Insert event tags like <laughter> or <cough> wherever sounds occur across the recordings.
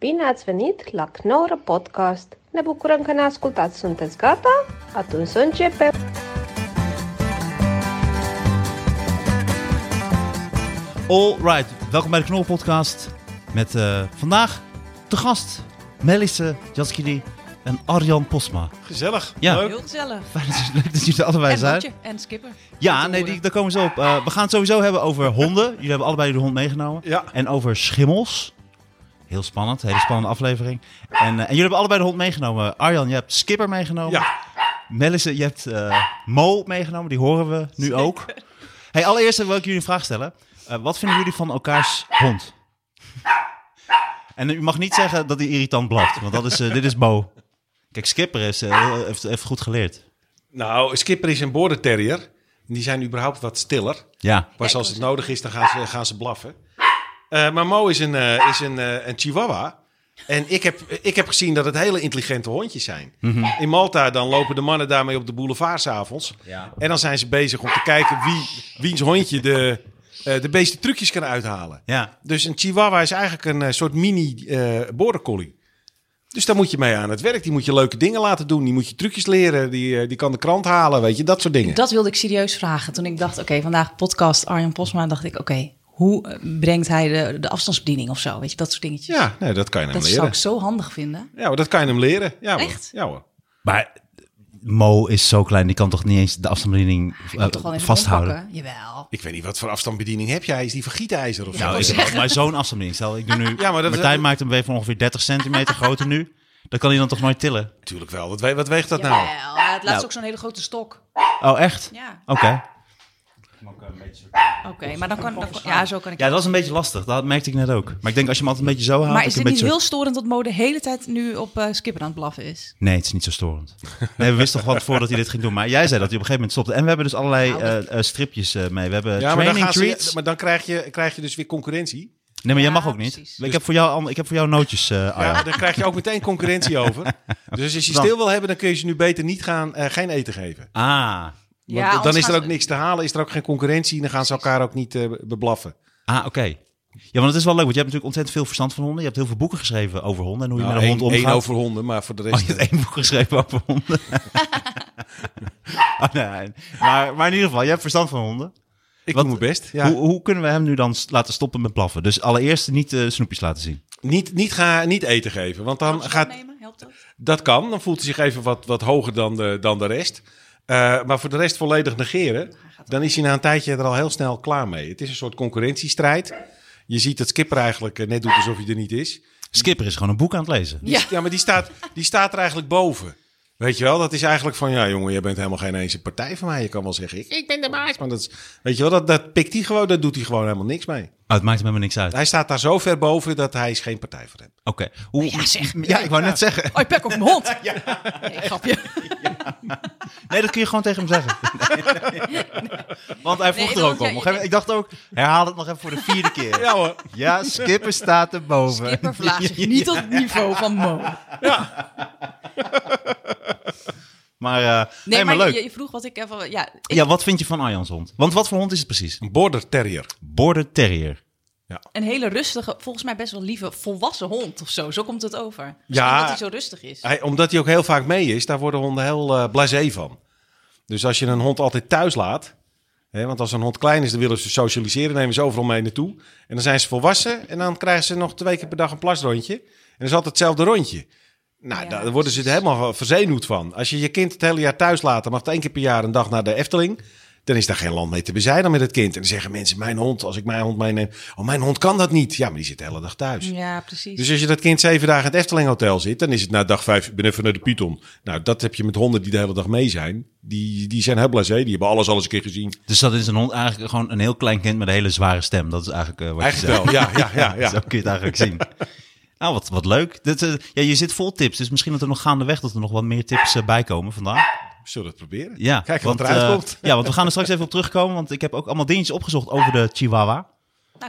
Bine ați venit la Knorr Podcast! Ne bucurăm că ne ascultați! Sunteți gata? Atunci să începem! Alright, welkom bij de Knol Podcast. Met eh, vandaag te gast Melisse Jaskili en Arjan Posma. Gezellig. Ja. Leuk. Heel gezellig. Fijn dat, leuk dat jullie er allebei En zijn. Lotje en Skipper. Ja, nee, die, daar komen ze op. Eh, we gaan het sowieso hebben over honden. Jullie hebben allebei jullie hond meegenomen. Ja. En over schimmels. Heel spannend, hele spannende aflevering. En, eh, en jullie hebben allebei de hond meegenomen. Arjan, je hebt Skipper meegenomen. Ja. Melisse, je hebt eh Mo meegenomen, die horen we nu ook. Hey, allereerst wil ik jullie een vraag stellen. Eh, wat vinden jullie van elkaars hond? En u mag niet zeggen dat hij irritant blaft, want dat is, eh, dit is Mo. Kijk, Skipper is, eh, heeft, heeft goed geleerd. Nou, Skipper is een borderterrier. Die zijn überhaupt wat stiller. Ja, Pas als het nodig is, dan gaan ze, gaan ze blaffen. Eh, maar Mo is een, eh, is een, eh, een chihuahua. En ik heb, ik heb gezien dat het hele intelligente hondjes zijn. Mhm. In Malta dan lopen de mannen daarmee op de boulevard s'avonds. Ja. En dan zijn ze bezig om te kijken wie, wiens hondje de, eh, de beeste trucjes kan uithalen. ja. Dus een chihuahua is eigenlijk een eh, soort mini eh border collie. Dus daar moet je mee aan het werk. Die moet je leuke dingen laten doen. Die moet je trucjes leren. Die, eh, die kan de krant halen, weet je. Dat soort dingen. Dat wilde ik serieus vragen. Toen ik dacht, oké, vandaag podcast Arjan Posma, dacht ik, oké, hoe eh, brengt hij de, de afstandsbediening of zo? Weet je, dat soort dingetjes. Ja, nee, dat kan je hem dat zou leren. Nou, ik zo handig vinden. Ja, hoor, dat kan je hem leren. Ja, hoor. Echt? Ja, hoor. Maar Mo is zo klein, die kan toch niet eens de afstandsbediening Ik eh, kan toch wel even vasthouden? rondpakken? Jawel. Ik weet niet wat voor afstandsbediening heb jij. Is die van gietijzer of Nou, zo? ik heb maar zo'n afstandsbediening. Stel, ik doe nu, Ja, maar dat- Martijn maakt hem weer van ongeveer 30 centimeter groter nu. Dat kan hij dan toch nooit tillen? Natuurlijk wel. Wat, we- wat weegt dat Jawel. nou? Ja, Het laatst Nou. ook zo'n hele grote stok. Oh, echt? Ja, Oké. Oh. oké. Maar dan kan, dan kan- Ja, zo kan ik... Ja, dat is een beetje lastig. Dat merkte ik net ook. Maar ik denk als je hem altijd een beetje zo houdt... maar dat is je dit een niet beetje zo- heel storend dat mode de hele tijd nu op eh, Skipper aan het blaffen is? Nee, het is niet zo storend. Nee, we wisten toch wat voordat hij dit ging doen. Maar jij zei dat hij op een gegeven moment stopte. En we hebben dus allerlei Nou, eh, eh, stripjes eh, mee. We hebben Ja, maar dan, training gaan ze, treats. maar dan krijg, je, krijg je dus weer concurrentie. Nee, maar jij Ja, mag ook niet. precies. Ik, heb voor jou, an- ik heb voor jou nootjes, eh Arjan. Ja, dan krijg je ook meteen concurrentie over. Dus als je Dan- stil wil hebben, dan kun je ze nu beter niet gaan, eh, geen eten geven. Ah, Ja, Want dan anders is er gaan ook ze- niks te halen, is er ook geen concurrentie. Dan gaan ze elkaar ook niet eh, beblaffen. ah oké. Ja, want het is wel leuk, want jij hebt natuurlijk ontzettend veel verstand van honden. Je hebt heel veel boeken geschreven over honden en hoe je Nou, met een hond één- één omgaat. over honden, maar voor de Oh, rest... eh, je hebt één boek geschreven over <laughs> honden. <laughs> oh, nee. maar, maar in ieder geval, je hebt verstand van honden. ik wat- doe mijn best. Ja. Hoe, hoe kunnen we hem nu dan s- laten stoppen met blaffen? Dus allereerst niet eh, snoepjes laten zien. Niet, niet, ga, niet eten geven, want dan Afstand gaat... nemen, helpt dat? Dat kan, dan voelt hij zich even wat, wat hoger dan de, dan de rest. Eh, maar voor de rest volledig negeren, dan is hij na een tijdje er al heel snel klaar mee. Het is een soort concurrentiestrijd. Je ziet dat Skipper eigenlijk eh, net doet alsof hij er niet is. Skipper is gewoon een boek aan het lezen. Die- Ja. ja, maar die staat, die staat er eigenlijk boven. Weet je wel, dat is eigenlijk van, ja jongen, je bent helemaal geen eens een partij van mij. Je kan wel zeggen, ik, ik ben de baas. Maar dat is, weet je wel, dat, dat pikt hij gewoon, daar doet hij gewoon helemaal niks mee. Oh, het maakt hem helemaal niks uit. Oké. Hij staat daar zo ver boven dat hij is geen partij voor hem. Hoe... Ja, zeg. <laughs> Ja, ik wou net zeggen. Oh, je pek op mijn <laughs> hond. Nee, grapje. Nee, dat kun je gewoon tegen hem <laughs> zeggen. <laughs> Want hij vroeg Nee, er ook want om. Op een gegeven jij- moment- Ik dacht ook, herhaal het nog even voor de vierde keer. Ja, <laughs> Ja hoor. Skipper staat erboven. <laughs> Skipper verlaagt zich <laughs> niet tot het niveau van Mo. Maar, eh, Nee, hey, maar, maar leuk. Je, je vroeg wat ik even... Ja, ik- Ja, wat vind je van Arjan's hond? Want wat voor hond is het precies? Een border terrier. Border Terrier. een hele rustige, volgens mij best wel lieve, volwassen hond of zo. Zo komt het over. Ja. Ja. Omdat hij zo rustig is. Hij, omdat hij ook heel vaak mee is, daar worden honden heel eh blasé van. Dus als je een hond altijd thuis laat... Hè, want als een hond klein is, dan willen ze socialiseren, nemen ze overal mee naartoe. En dan zijn ze volwassen en dan krijgen ze nog twee keer per dag een plasrondje. En dat is altijd hetzelfde rondje. Nou, Ja, daar worden ze er helemaal verzenuwd van. Als je je kind het hele jaar thuis laat, dan mag het één keer per jaar een dag naar de Efteling. Dan is daar geen land mee te bezijden met het kind. En dan zeggen mensen, mijn hond, als ik mijn hond meeneem... Oh, mijn hond kan dat niet. Ja, maar die zit de hele dag thuis. Ja, precies. Dus als je dat kind zeven dagen in het Efteling Hotel zit, dan is het na dag vijf, ik ben even naar de Python. Nou, dat heb je met honden die de hele dag mee zijn. Die, die zijn heel blasé, die hebben alles al eens een keer gezien. Dus dat is een hond eigenlijk gewoon een heel klein kind met een hele zware stem. Dat is eigenlijk eh, wat je Eigenlijk zegt. wel, ja, ja, <laughs> <laughs> ja. Zo ja. kun je het eigenlijk zien. Nou, wat, wat leuk. Dit, eh, ja, je zit vol tips, dus misschien dat er nog gaandeweg dat er nog wat meer tips eh, bij komen vandaag. Zullen we het proberen? Ja, Kijken wat want, eruit eh, komt. Ja, want we gaan er straks even op terugkomen. Want ik heb ook allemaal dingetjes opgezocht over de Chihuahua. Nou,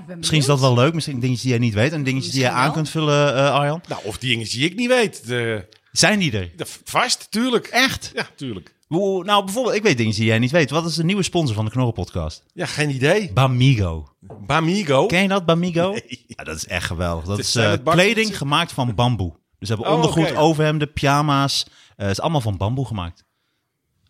ik ben Misschien is dat wel leuk. Misschien dingetjes die jij niet weet. En dingetjes die jij Misschien aan wel. kunt vullen, eh, Arjan. Nou, of die dingen die ik niet weet. De, Zijn die er? de, vast, tuurlijk. Echt? Ja, tuurlijk. Hoe- Nou, bijvoorbeeld, ik weet dingen die jij niet weet. Wat is de nieuwe sponsor van de Knorrenpodcast? Ja, geen idee. Bamigo. Bamigo. Ken je dat, Bamigo? Ja, dat is echt geweldig. Dat Het is zijn eh, het bakjes- kleding gemaakt van bamboe. Dus ze hebben Oh, ondergoed, oké. overhemden, pyjama's. Eh, Het is allemaal van bamboe gemaakt.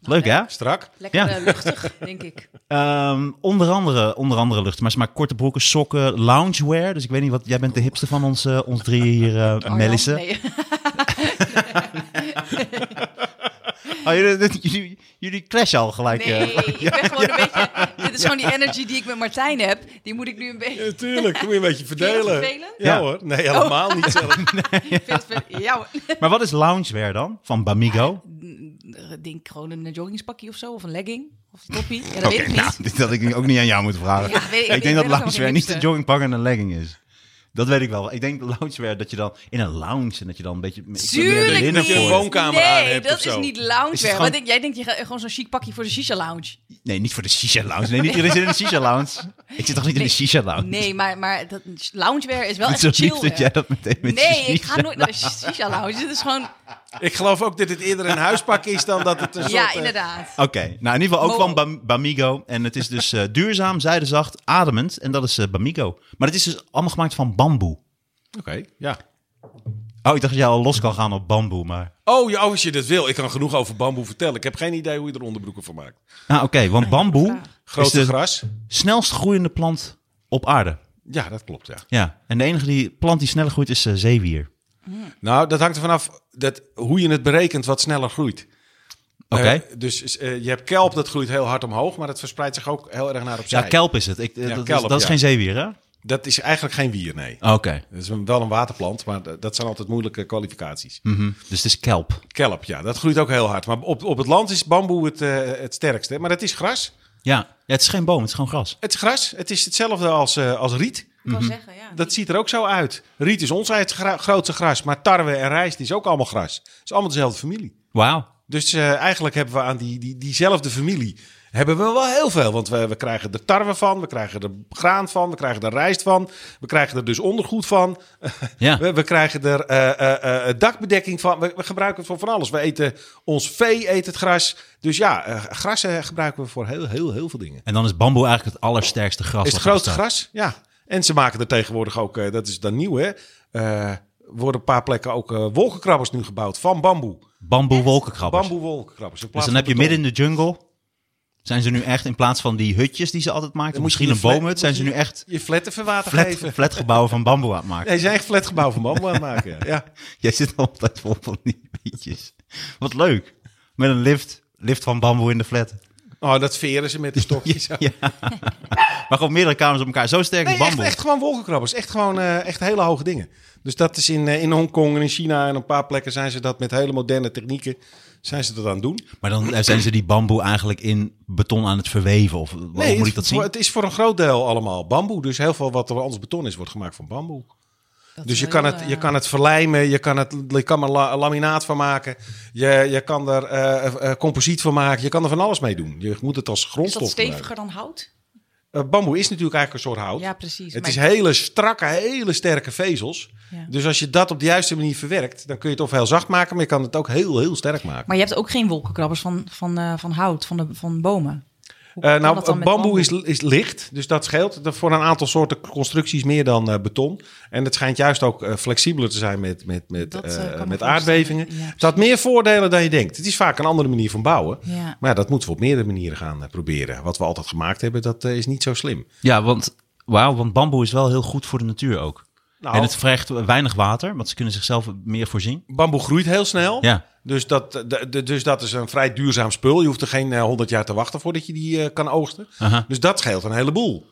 Leuk, hè? Strak. Lekker Ja. eh, luchtig, denk <laughs> ik. Ehm, onder, andere, onder andere lucht. Maar ze maken korte broeken, sokken, loungewear. Dus ik weet niet wat... Jij bent de hipste van ons, eh, ons drieën hier, <laughs> eh, Arjan? Melissa. Oh, Nee. Oh, jullie, jullie, jullie clashen al gelijk. eh. <laughs> Nee, ik ben gewoon een beetje... Dit is gewoon die energy die ik met Martijn heb. Die moet ik nu een beetje... Natuurlijk, moet je een beetje verdelen. verdelen. Oh. vervelend? Ja. Ja hoor, nee helemaal niet zelf. Vind het- Ja, hoor. Maar wat is loungewear dan? Van Bamigo? Ah, Ik denk gewoon een joggingbakje of zo. Of een legging. Of een toppie. Ja, dat Oké, weet ik niet. nou, dit had ik ook niet aan jou moeten vragen. <laughs> Ja, weet ik- ik ik denk ben dat ook nog loungewear niet geen hipster. een joggingpak en een legging is. Dat weet ik wel. Ik denk loungewear dat je dan in een lounge en dat je dan een beetje... ik wil meer Tuurlijk linnen niet. je een voor- woonkamer nee, aan hebt dat of zo. is niet Is loungewear. het Wat gewoon- denk- jij denkt je gaat gewoon zo'n chic pakje voor de shisha lounge. Nee, niet voor de shisha lounge. Nee, niet iedereen zit in de shisha lounge. Ik zit toch niet in de Nee. shisha lounge? Nee, maar, maar dat, loungewear is wel Het is echt zo lief <laughs> chill. dat jij dat meteen met je Nee, ik shisha ga nooit naar de shisha lounge. Dit is gewoon... Ik geloof ook dat het eerder een huispak is dan dat het een soort... Ja, eh, inderdaad. Oké, nou in ieder geval ook Mo. van Bam- Bamigo. En het is dus eh, duurzaam, zijdezacht, ademend. En dat is eh, Bamigo. Maar het is dus allemaal gemaakt van bamboe. Oké, ja. Oh, ik dacht dat jij al los kan gaan op bamboe, maar... Oh, ja, als je dat wil. Ik kan genoeg over bamboe vertellen. Ik heb geen idee hoe je er onderbroeken van maakt. Nou oké, want bamboe is Grote de gras. snelst groeiende plant op aarde. Ja, dat klopt, ja. Ja, en de enige die, plant die sneller groeit is eh, zeewier. Nou, dat hangt er vanaf dat, hoe je het berekent wat sneller groeit. Oké. Eh, dus eh, je hebt kelp, dat groeit heel hard omhoog, maar dat verspreidt zich ook heel erg naar opzij. ja, kelp is het. Ik, eh, Ja, dat, is, kelp, dat is ja. Ah, geen zeewier, hè? Oké. Dat is eigenlijk geen wier, nee. Dat is een- wel een waterplant, maar d- dat zijn altijd moeilijke kwalificaties. Mhm. Dus het is kelp. Kelp, ja, dat groeit ook heel hard. Maar op, op het land is bamboe het, eh, het sterkste. Maar het is gras. Ja. ja, het is geen boom, het is gewoon gras. Het is gras. Het is hetzelfde als, eh, als riet. Ik kan Mhm. zeggen, ja. Dat ziet er ook zo uit. Riet is ons eigen gra- grootste gras, maar tarwe en rijst is ook allemaal gras. Het is allemaal dezelfde familie. Wauw. Dus eh, eigenlijk hebben we aan die, die, diezelfde familie hebben we wel heel veel. Want we, we krijgen er tarwe van, we krijgen er graan van, we krijgen er rijst van. We krijgen er dus ondergoed van. Ja. We, we krijgen er eh, eh, eh, dakbedekking van. We, we gebruiken het voor van alles. We eten ons vee, eet het gras. Dus ja, eh, gras eh, gebruiken we voor heel, heel, heel veel dingen. En dan is bamboe eigenlijk het allersterkste gras. Is wat er het grootste bestaat. gras? Ja. En ze maken er tegenwoordig ook, eh, dat is dan nieuw hè, Eh worden een paar plekken ook eh, wolkenkrabbers nu gebouwd van bamboe. Bamboe wolkenkrabbers. Bamboe wolkenkrabbers. in Dus plaats dan heb van je beton. midden in de jungle. Zijn ze nu echt, in plaats van die hutjes die ze altijd maakten, Dan moet je misschien een die flat- boomhut, zijn ze nu echt Je flat even water flat, geven. flatgebouwen van bamboe aan het maken. Nee, ze zijn echt flatgebouw van bamboe aan het maken. ja. Ja. Jij zit altijd vol van die liedjes. Wat leuk. Met een lift. Lift van bamboe in de flat. Oh, dat veren ze met de stokjes. <laughs> Ja. Maar gewoon meerdere kamers op elkaar. Zo sterk Nee, is echt, bamboe. echt gewoon wolkenkrabbers. Echt gewoon eh, echt hele hoge dingen. Dus dat is in, eh, in Hongkong en in China en een paar plekken zijn ze dat met hele moderne technieken zijn ze dat aan het doen. Maar dan eh, zijn ze die bamboe eigenlijk in beton aan het verweven. Of hoe Nee, moet het, ik dat zien? Het is voor een groot deel allemaal bamboe. Dus heel veel wat er anders beton is, wordt gemaakt van bamboe. Dat dus is je wel kan, het, heel, je eh, kan het verlijmen, je kan, het, je kan er la- laminaat van maken, je, je kan er eh, eh, composiet van maken, je kan er van alles mee doen. Je moet het als Is dat grondstof gebruiken. steviger dan hout? Eh, bamboe is natuurlijk eigenlijk een soort hout. Ja, precies. het maar- is hele strakke, hele sterke vezels. Ja. Dus als je dat op de juiste manier verwerkt, dan kun je het of heel zacht maken, maar je kan het ook heel, heel sterk maken. Maar je hebt ook geen wolkenkrabbers van, van, eh, van hout, van, de, van bomen. Hoe Eh, kan nou, dat dan bamboe, met Is, is licht, dus dat scheelt Dat voor een aantal soorten constructies meer dan eh, beton. En het schijnt juist ook eh, flexibeler te zijn met, met, met, Dat, eh, eh, kan me met voorstellen. aardbevingen. Ja, het had meer voordelen dan je denkt. Het is vaak een andere manier van bouwen. Ja. Maar ja, dat moeten we op meerdere manieren gaan eh, proberen. Wat we altijd gemaakt hebben, dat eh, is niet zo slim. Ja, want, wauw, want bamboe is wel heel goed voor de natuur ook. Nou. En het vergt weinig water, want ze kunnen zichzelf meer voorzien. Bamboe groeit heel snel. Ja. Dus dat, eh, de- de- dus dat is een vrij duurzaam spul. Je hoeft er geen eh, 100 jaar te wachten voordat je die eh, kan oogsten. Aha. Dus dat scheelt een heleboel.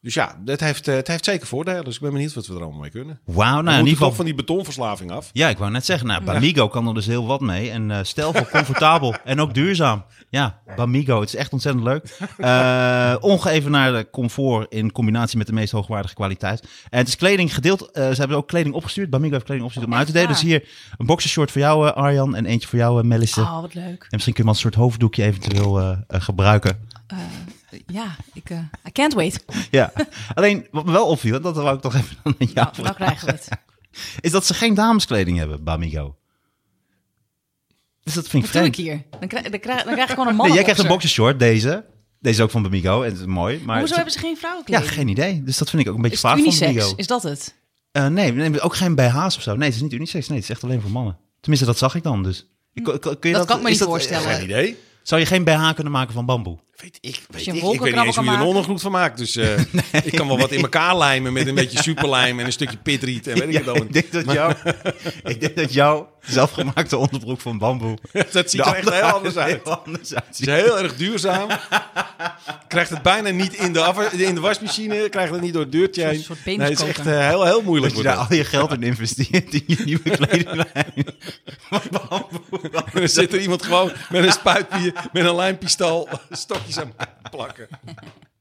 Dus ja, het heeft, eh, het heeft zeker voordelen. Dus ik ben benieuwd wat we er allemaal mee kunnen. Wauw, nou we in moeten ieder geval... toch van die betonverslaving af. Ja, ik wou net zeggen, nou, Bamigo kan er dus heel wat mee. En eh stijlvol, <laughs> comfortabel en ook duurzaam. Ja, Bamigo, het is echt ontzettend leuk. Eh ongeëvenaarde comfort in combinatie met de meest hoogwaardige kwaliteit. En het is kleding gedeeld. eh, ze hebben ook kleding opgestuurd. Bamigo heeft kleding opgestuurd om uit te delen. Dus waar? hier een boxershort voor jou, eh, Arjan. En eentje voor jou, eh, Melissa. Oh, wat leuk. En misschien kun je wel een soort hoofddoekje eventueel eh, eh, gebruiken. <laughs> Ja, ik eh, I can't wait. Ja. Alleen, wat me wel opviel, en dat wou ik toch even <laughs> aan jou Nou, vragen, nou krijgen we het. Is dat ze geen dameskleding hebben, Bamigo. Dus dat vind ik Wat doe ik vreemd. hier? Dan krijg, dan krijg, dan krijg ik gewoon een man. Nee, jij krijgt een boxershort, deze. Deze is ook van Bamigo en het is mooi. Maar Hoezo het- hebben ze geen Ja, vrouwenkleding? geen idee. Dus dat vind ik ook een beetje Is het vaag van unisex? Bamigo. Is dat het? Eh, nee, nee, ook geen BH's of zo. Nee, het is niet unisex. Nee, het is echt alleen voor mannen. Tenminste, dat zag ik dan dus. Ik- kun je dat, Hm. Dat kan ik me is dat- niet eh, voorstellen. Geen idee. Zou je geen BH kunnen maken van bamboe? <laughs> Weet ik, weet je een ik. Ik weet niet wolkenkrabber eens hoe kan je een maken. ondergoed van maakt. Dus eh, <laughs> ik kan wel wat in elkaar lijmen met een beetje superlijm en een stukje pitriet en weet ik het allemaal ik, denk dat jou, <laughs> ik denk dat jouw zelfgemaakte onderbroek van bamboe... niet. <laughs> Dat ziet de er echt heel andere <laughs> anders uit. heel anders Het uitziet. is heel erg duurzaam. Krijgt het bijna niet in de, afwas- in de wasmachine. Krijgt het niet door het deurtje Een heen. soort Nee, het is peniskoker. echt eh, heel, heel moeilijk. Dat je daar wordt al je geld in investeert in je <laughs> nieuwe kledinglijn. Van bamboe. het. En dan zit er iemand gewoon met een spuitpier, met een lijmpistool, stokjes aan het plakken. <laughs>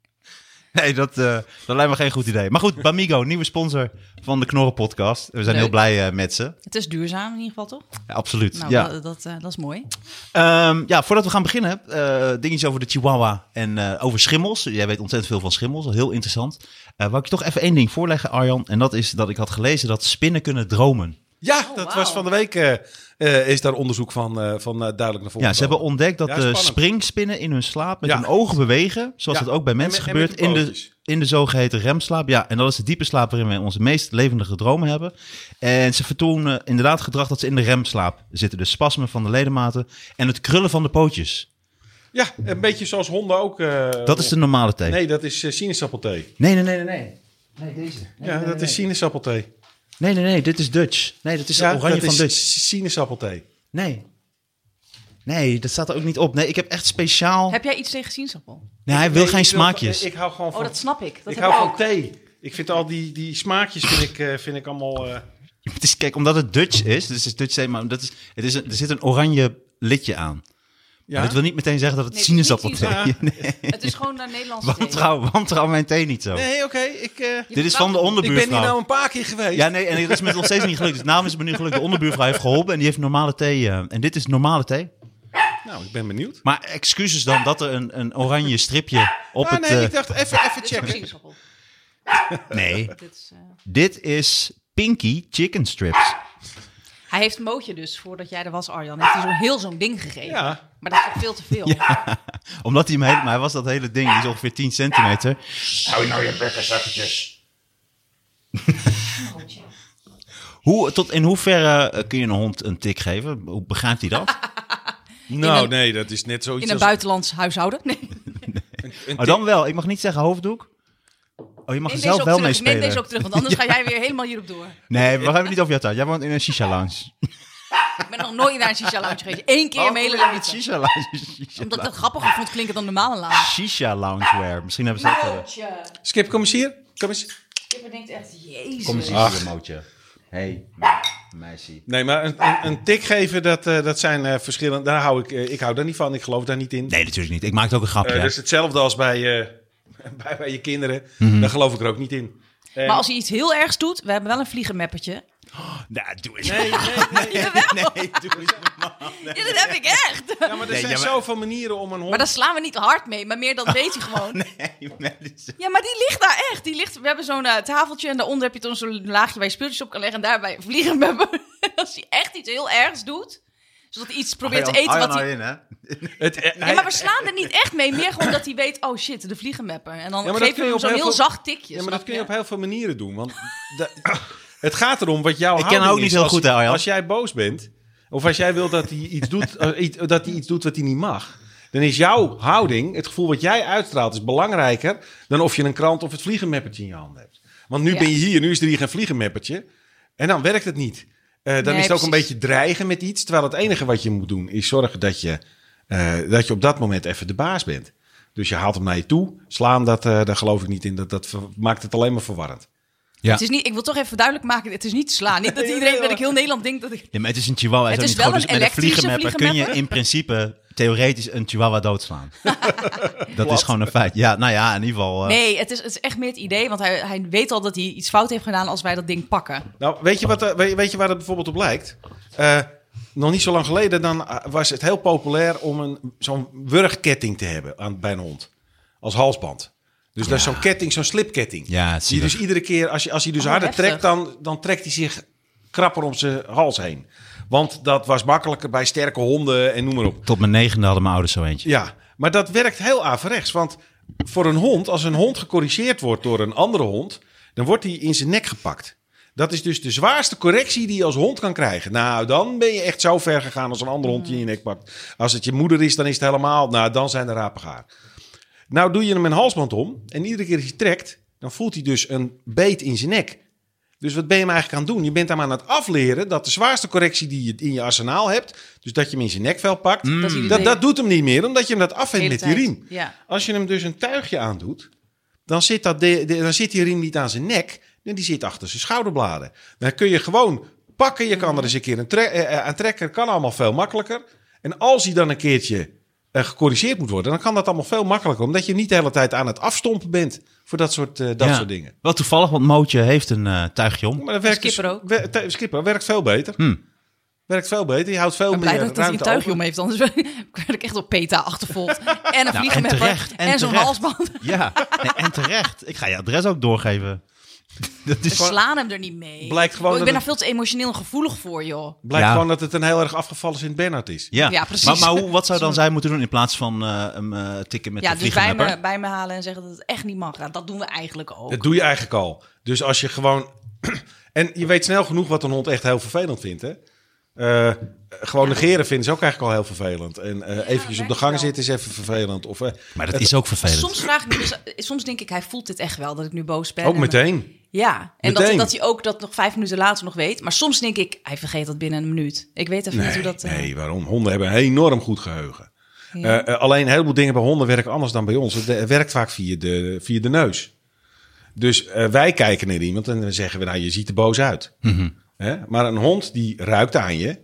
Nee, dat, eh, dat lijkt me geen goed idee. Maar goed, Bamigo, nieuwe sponsor van de Knorren podcast. We zijn Leuk. heel blij eh, met ze. Het is duurzaam in ieder geval, toch? Ja, absoluut. Nou, ja. dat, dat, eh, dat is mooi. Ehm, ja, voordat we gaan beginnen, eh, dingetjes over de Chihuahua en eh, over schimmels. Jij weet ontzettend veel van schimmels, heel interessant. Eh wou ik je toch even één ding voorleggen, Arjan. En dat is dat ik had gelezen dat spinnen kunnen dromen. Ja, Oh, dat wauw. was van de week. eh, eh, is daar onderzoek van, eh, van eh, duidelijk naar voren Ja, ze hebben gekomen. ontdekt dat Ja, de spannend. springspinnen in hun slaap met Ja. hun ogen bewegen. Zoals Ja. dat ook bij mensen En met- gebeurt en met in hun de, pootjes. in de zogeheten remslaap. Ja, en dat is de diepe slaap waarin wij onze meest levendige dromen hebben. En ze vertonen inderdaad gedrag dat ze in de remslaap zitten. Dus spasmen van de ledematen en het krullen van de pootjes. Ja, een beetje zoals honden ook. eh, Dat is de normale thee. Nee, dat is eh, sinaasappelthee. Nee, nee, nee, nee. Nee, deze. Nee, ja, nee, dat nee. is sinaasappelthee. Nee, nee, nee, dit is Dutch. Nee, dat is ja, de oranje dat van is Dutch. si- sinaasappelthee. Nee. Nee, dat staat er ook niet op. Nee, ik heb echt speciaal... Heb jij iets tegen sinaasappel? Nee, hij wil Nee, geen ik smaakjes. Ik hou gewoon van... Oh, dat snap ik. Dat ik heb hou ik van ook. thee. Ik vind al die, die smaakjes vind ik, eh, vind ik allemaal... eh, Het is, kijk, omdat het Dutch is, dus het is Dutch thee, maar dat is, het is een- er zit een oranje lidje aan. ja. Maar dat wil niet meteen zeggen dat het Nee, het is niet sinaasappel <laughs> is. sinaasappel. Nee, Het is gewoon naar Nederlandse thee. wantrouw, wantrouw mijn thee niet zo. Nee, oké. Ik, eh, Je Dit is van de vertrouwt- onderbuurvrouw. ik ben hier nou een paar keer geweest. Ja, nee, en dat is me nog steeds niet gelukt. Dus namens is me nu gelukt. De onderbuurvrouw heeft geholpen en die heeft normale thee. eh, en dit is normale thee. Nou, ik ben benieuwd. Maar excuses dan dat er een, een oranje stripje op ah, het... nee, eh, ik dacht even, even Dit is checken. ook sinaasappel. nee, Dit is, eh, Dit is Pinky Chicken Strips. Hij heeft Mootje dus, voordat jij er was, Arjan, heeft hij zo'n heel zo'n ding gegeven. Ja. Maar dat is toch veel te veel. Omdat hij hem helemaal... Hij was dat hele ding, die is ongeveer 10 centimeter. Hou je nou je bekken zakkertjes. <laughs> Hoe, tot in hoeverre eh, kun je een hond een tik geven? Hoe begrijpt hij dat? Nou, een- nee, dat is net zoiets In een als... buitenlands huishouden. Nee, een Oh, dan wel. Ik mag niet zeggen hoofddoek. Oh, je mag neem er deze ook zelf wel mee terug. Neem deze spelen. ook terug, want anders <laughs> ga jij weer helemaal hierop door. Nee, we gaan het niet over jou thuis. Jij woont in een shisha lounge. Oh, Ik ben nog nooit naar een shisha lounge geweest. Eén keer in mijn hele leven. Shisha lounge. <laughs> Shisha, Omdat ik lounge. dat grappiger vond klinken dan normale lounge. shisha loungewear. Misschien hebben ze dat... eh, Mootje. Skip, kom eens hier. Kom eens. Kipper denkt echt, jezus. Kom eens Ach. hier, mootje. Hé, meisje. Nee, maar een, een, een tik geven, dat, eh, dat zijn eh verschillen. Daar hou ik, eh, ik hou daar niet van. Ik geloof daar niet in. Nee, natuurlijk niet. Ik maak ook een grapje. Eh, hè. Dat is hetzelfde als bij, eh, <laughs> bij, bij je kinderen. Daar geloof ik er ook niet in. En- Maar als hij iets heel ergs doet, we hebben wel een <laughs> vliegenmeppertje. Nou, doe eens. Nee, nee, nee. Jawel. Nee, doe eens. Ja, dat heb ik echt. Ja, maar er Nee, zijn ja, maar- zoveel manieren om een hond... Maar daar slaan we niet hard mee, maar meer dan weet hij gewoon. <laughs> Nee, mensen. Ja, maar die ligt daar echt. Die ligt, we hebben zo'n eh, tafeltje en daaronder heb je dan zo'n laagje waar je speeltjes op kan leggen. En daarbij vliegen <laughs> we Als hij echt iets heel ergs doet, zodat hij iets Ah, probeert te eten wat hij... Het, eh, Ja, maar we slaan er niet echt mee. Meer gewoon dat hij weet, oh shit, de vliegenmepper. En dan Ja, maar dat geven kun we je hem op zo'n heel heel veel- zacht tikje. Ja, maar snap dat kun je op je? heel veel manieren doen. Want da- <coughs> het gaat erom wat jouw Ik ken houding haar ook niet is heel als- goed, hè, Arjan? Als jij boos bent, of als jij wil dat hij <laughs> iets doet, eh, iets- dat hij iets doet wat hij niet mag... dan is jouw houding, het gevoel wat jij uitstraalt, is belangrijker... dan of je een krant of het vliegenmeppertje in je hand hebt. Want nu Ja. ben je hier, nu is er hier geen vliegenmeppertje. En dan werkt het niet. Eh, dan Nee, is het ook een precies. beetje dreigen met iets. Terwijl het enige wat je moet doen is zorgen dat je, eh, dat je op dat moment even de baas bent. Dus je haalt hem naar je toe. Slaan, dat, eh, daar geloof ik niet in. Dat, dat ver- maakt het alleen maar verwarrend. Ja. Het is niet, ik wil toch even duidelijk maken, het is niet <laughs> slaan. Niet dat Nee, iedereen, nee, dat ik heel Nederland denk dat ik... Ja, maar het is een chihuahua. Het ook is niet wel groot, een dus met een elektrische vliegenmepper kun je in principe theoretisch een chihuahua <laughs> doodslaan. dat is gewoon een feit. Ja, nou ja, in ieder geval. Ah. eh, Nee, het is, het is echt meer het idee, want hij, hij weet al dat hij iets fout heeft gedaan als wij dat ding pakken. Nou, weet je, wat, eh, weet, weet je waar het bijvoorbeeld op lijkt? Eh, nog niet zo lang geleden dan, eh, was het heel populair om een, zo'n wurgketting te hebben aan, bij een hond. Als halsband. Dus dat is zo'n ketting, zo'n slipketting. Ja, het is die zielig. dus iedere keer, als, je, als hij dus Oh, harder heftig. trekt, dan, dan trekt hij zich krapper om zijn hals heen. Want dat was makkelijker bij sterke honden en noem maar op. Tot mijn negende hadden mijn ouders zo eentje. Ja, maar dat werkt heel averechts. Want voor een hond, als een hond gecorrigeerd wordt door een andere hond, dan wordt hij in zijn nek gepakt. Dat is dus de zwaarste correctie die je als hond kan krijgen. Nou, dan ben je echt zo ver gegaan als een andere hond je in je nek pakt. Als het je moeder is, dan is het helemaal. Nou, dan zijn de rapen gaar. Nou, doe je hem een halsband om en iedere keer als je trekt, dan voelt hij dus een beet in zijn nek. Dus wat ben je hem eigenlijk aan het doen? Je bent hem aan het afleren dat de zwaarste correctie die je in je arsenaal hebt, dus dat je hem in zijn nekvel pakt, Mm. Dat is dat, iedereen- dat doet hem niet meer, omdat je hem dat afwendt hele met die tijd. riem. Ja. Als je hem dus een tuigje aandoet, dan zit, dat de, de- dan zit die riem niet aan zijn nek. Nee, die zit achter zijn schouderbladen. Dan kun je gewoon pakken. Je kan er eens een keer een tre- eh, eh, aan trekken. Kan allemaal veel makkelijker. En als hij dan een keertje eh, gecorrigeerd moet worden, dan kan dat allemaal veel makkelijker. Omdat je niet de hele tijd aan het afstompen bent voor dat soort, eh, dat Ja. soort dingen. Wel toevallig, want Mootje heeft een eh, tuigje om. Maar dat werkt Skipper ook. wer- te- skipper werkt veel beter. Hmm. Werkt veel beter. Je houdt veel Ik ben blij meer dat ik dat hij een ruimte tuigje over. om heeft, anders <laughs> werd ik echt op PETA achtervolgd. En een Nou, en vliegenmepper terecht, en en, zo'n terecht. halsband. <laughs> Ja, nee, en terecht. Ik ga je adres ook doorgeven. <laughs> Dat We is slaan hem er niet mee. Blijkt gewoon Oh, ik dat ben daar veel te emotioneel en gevoelig voor, joh. Blijkt Ja. gewoon dat het een heel erg afgevallen Sint-Bernard is. Ja, Ja, precies. Maar, maar hoe, wat zou dan zij moeten doen in plaats van eh, hem eh, tikken met ja, de dus bij vliegenmepper? me, bij me halen en zeggen dat het echt niet mag. Nou, dat doen we eigenlijk ook. Dat doe je eigenlijk al. Dus als je gewoon. <clears throat> en je weet snel genoeg wat een hond echt heel vervelend vindt, hè? Eh, gewoon negeren vinden ze ook eigenlijk al heel vervelend. En eh eventjes op de merk gang ik wel. zitten is even vervelend. Of, eh, Maar dat is ook vervelend. Soms vraag ik me dus, soms denk ik, hij voelt dit echt wel dat ik nu boos ben. ook En- meteen. Ja, en dat, Meteen. dat hij ook dat nog vijf minuten later nog weet. Maar soms denk ik, hij vergeet dat binnen een minuut. Ik weet even niet hoe dat... eh, Nee, waarom? Honden hebben een enorm goed geheugen. ja. Eh, eh, alleen een heleboel dingen bij honden werken anders dan bij ons. Het eh, werkt vaak via de, via de neus. Dus eh, wij kijken naar iemand en dan zeggen we, nou, je ziet er boos uit. Mhm. Hè? Maar een hond die ruikt aan je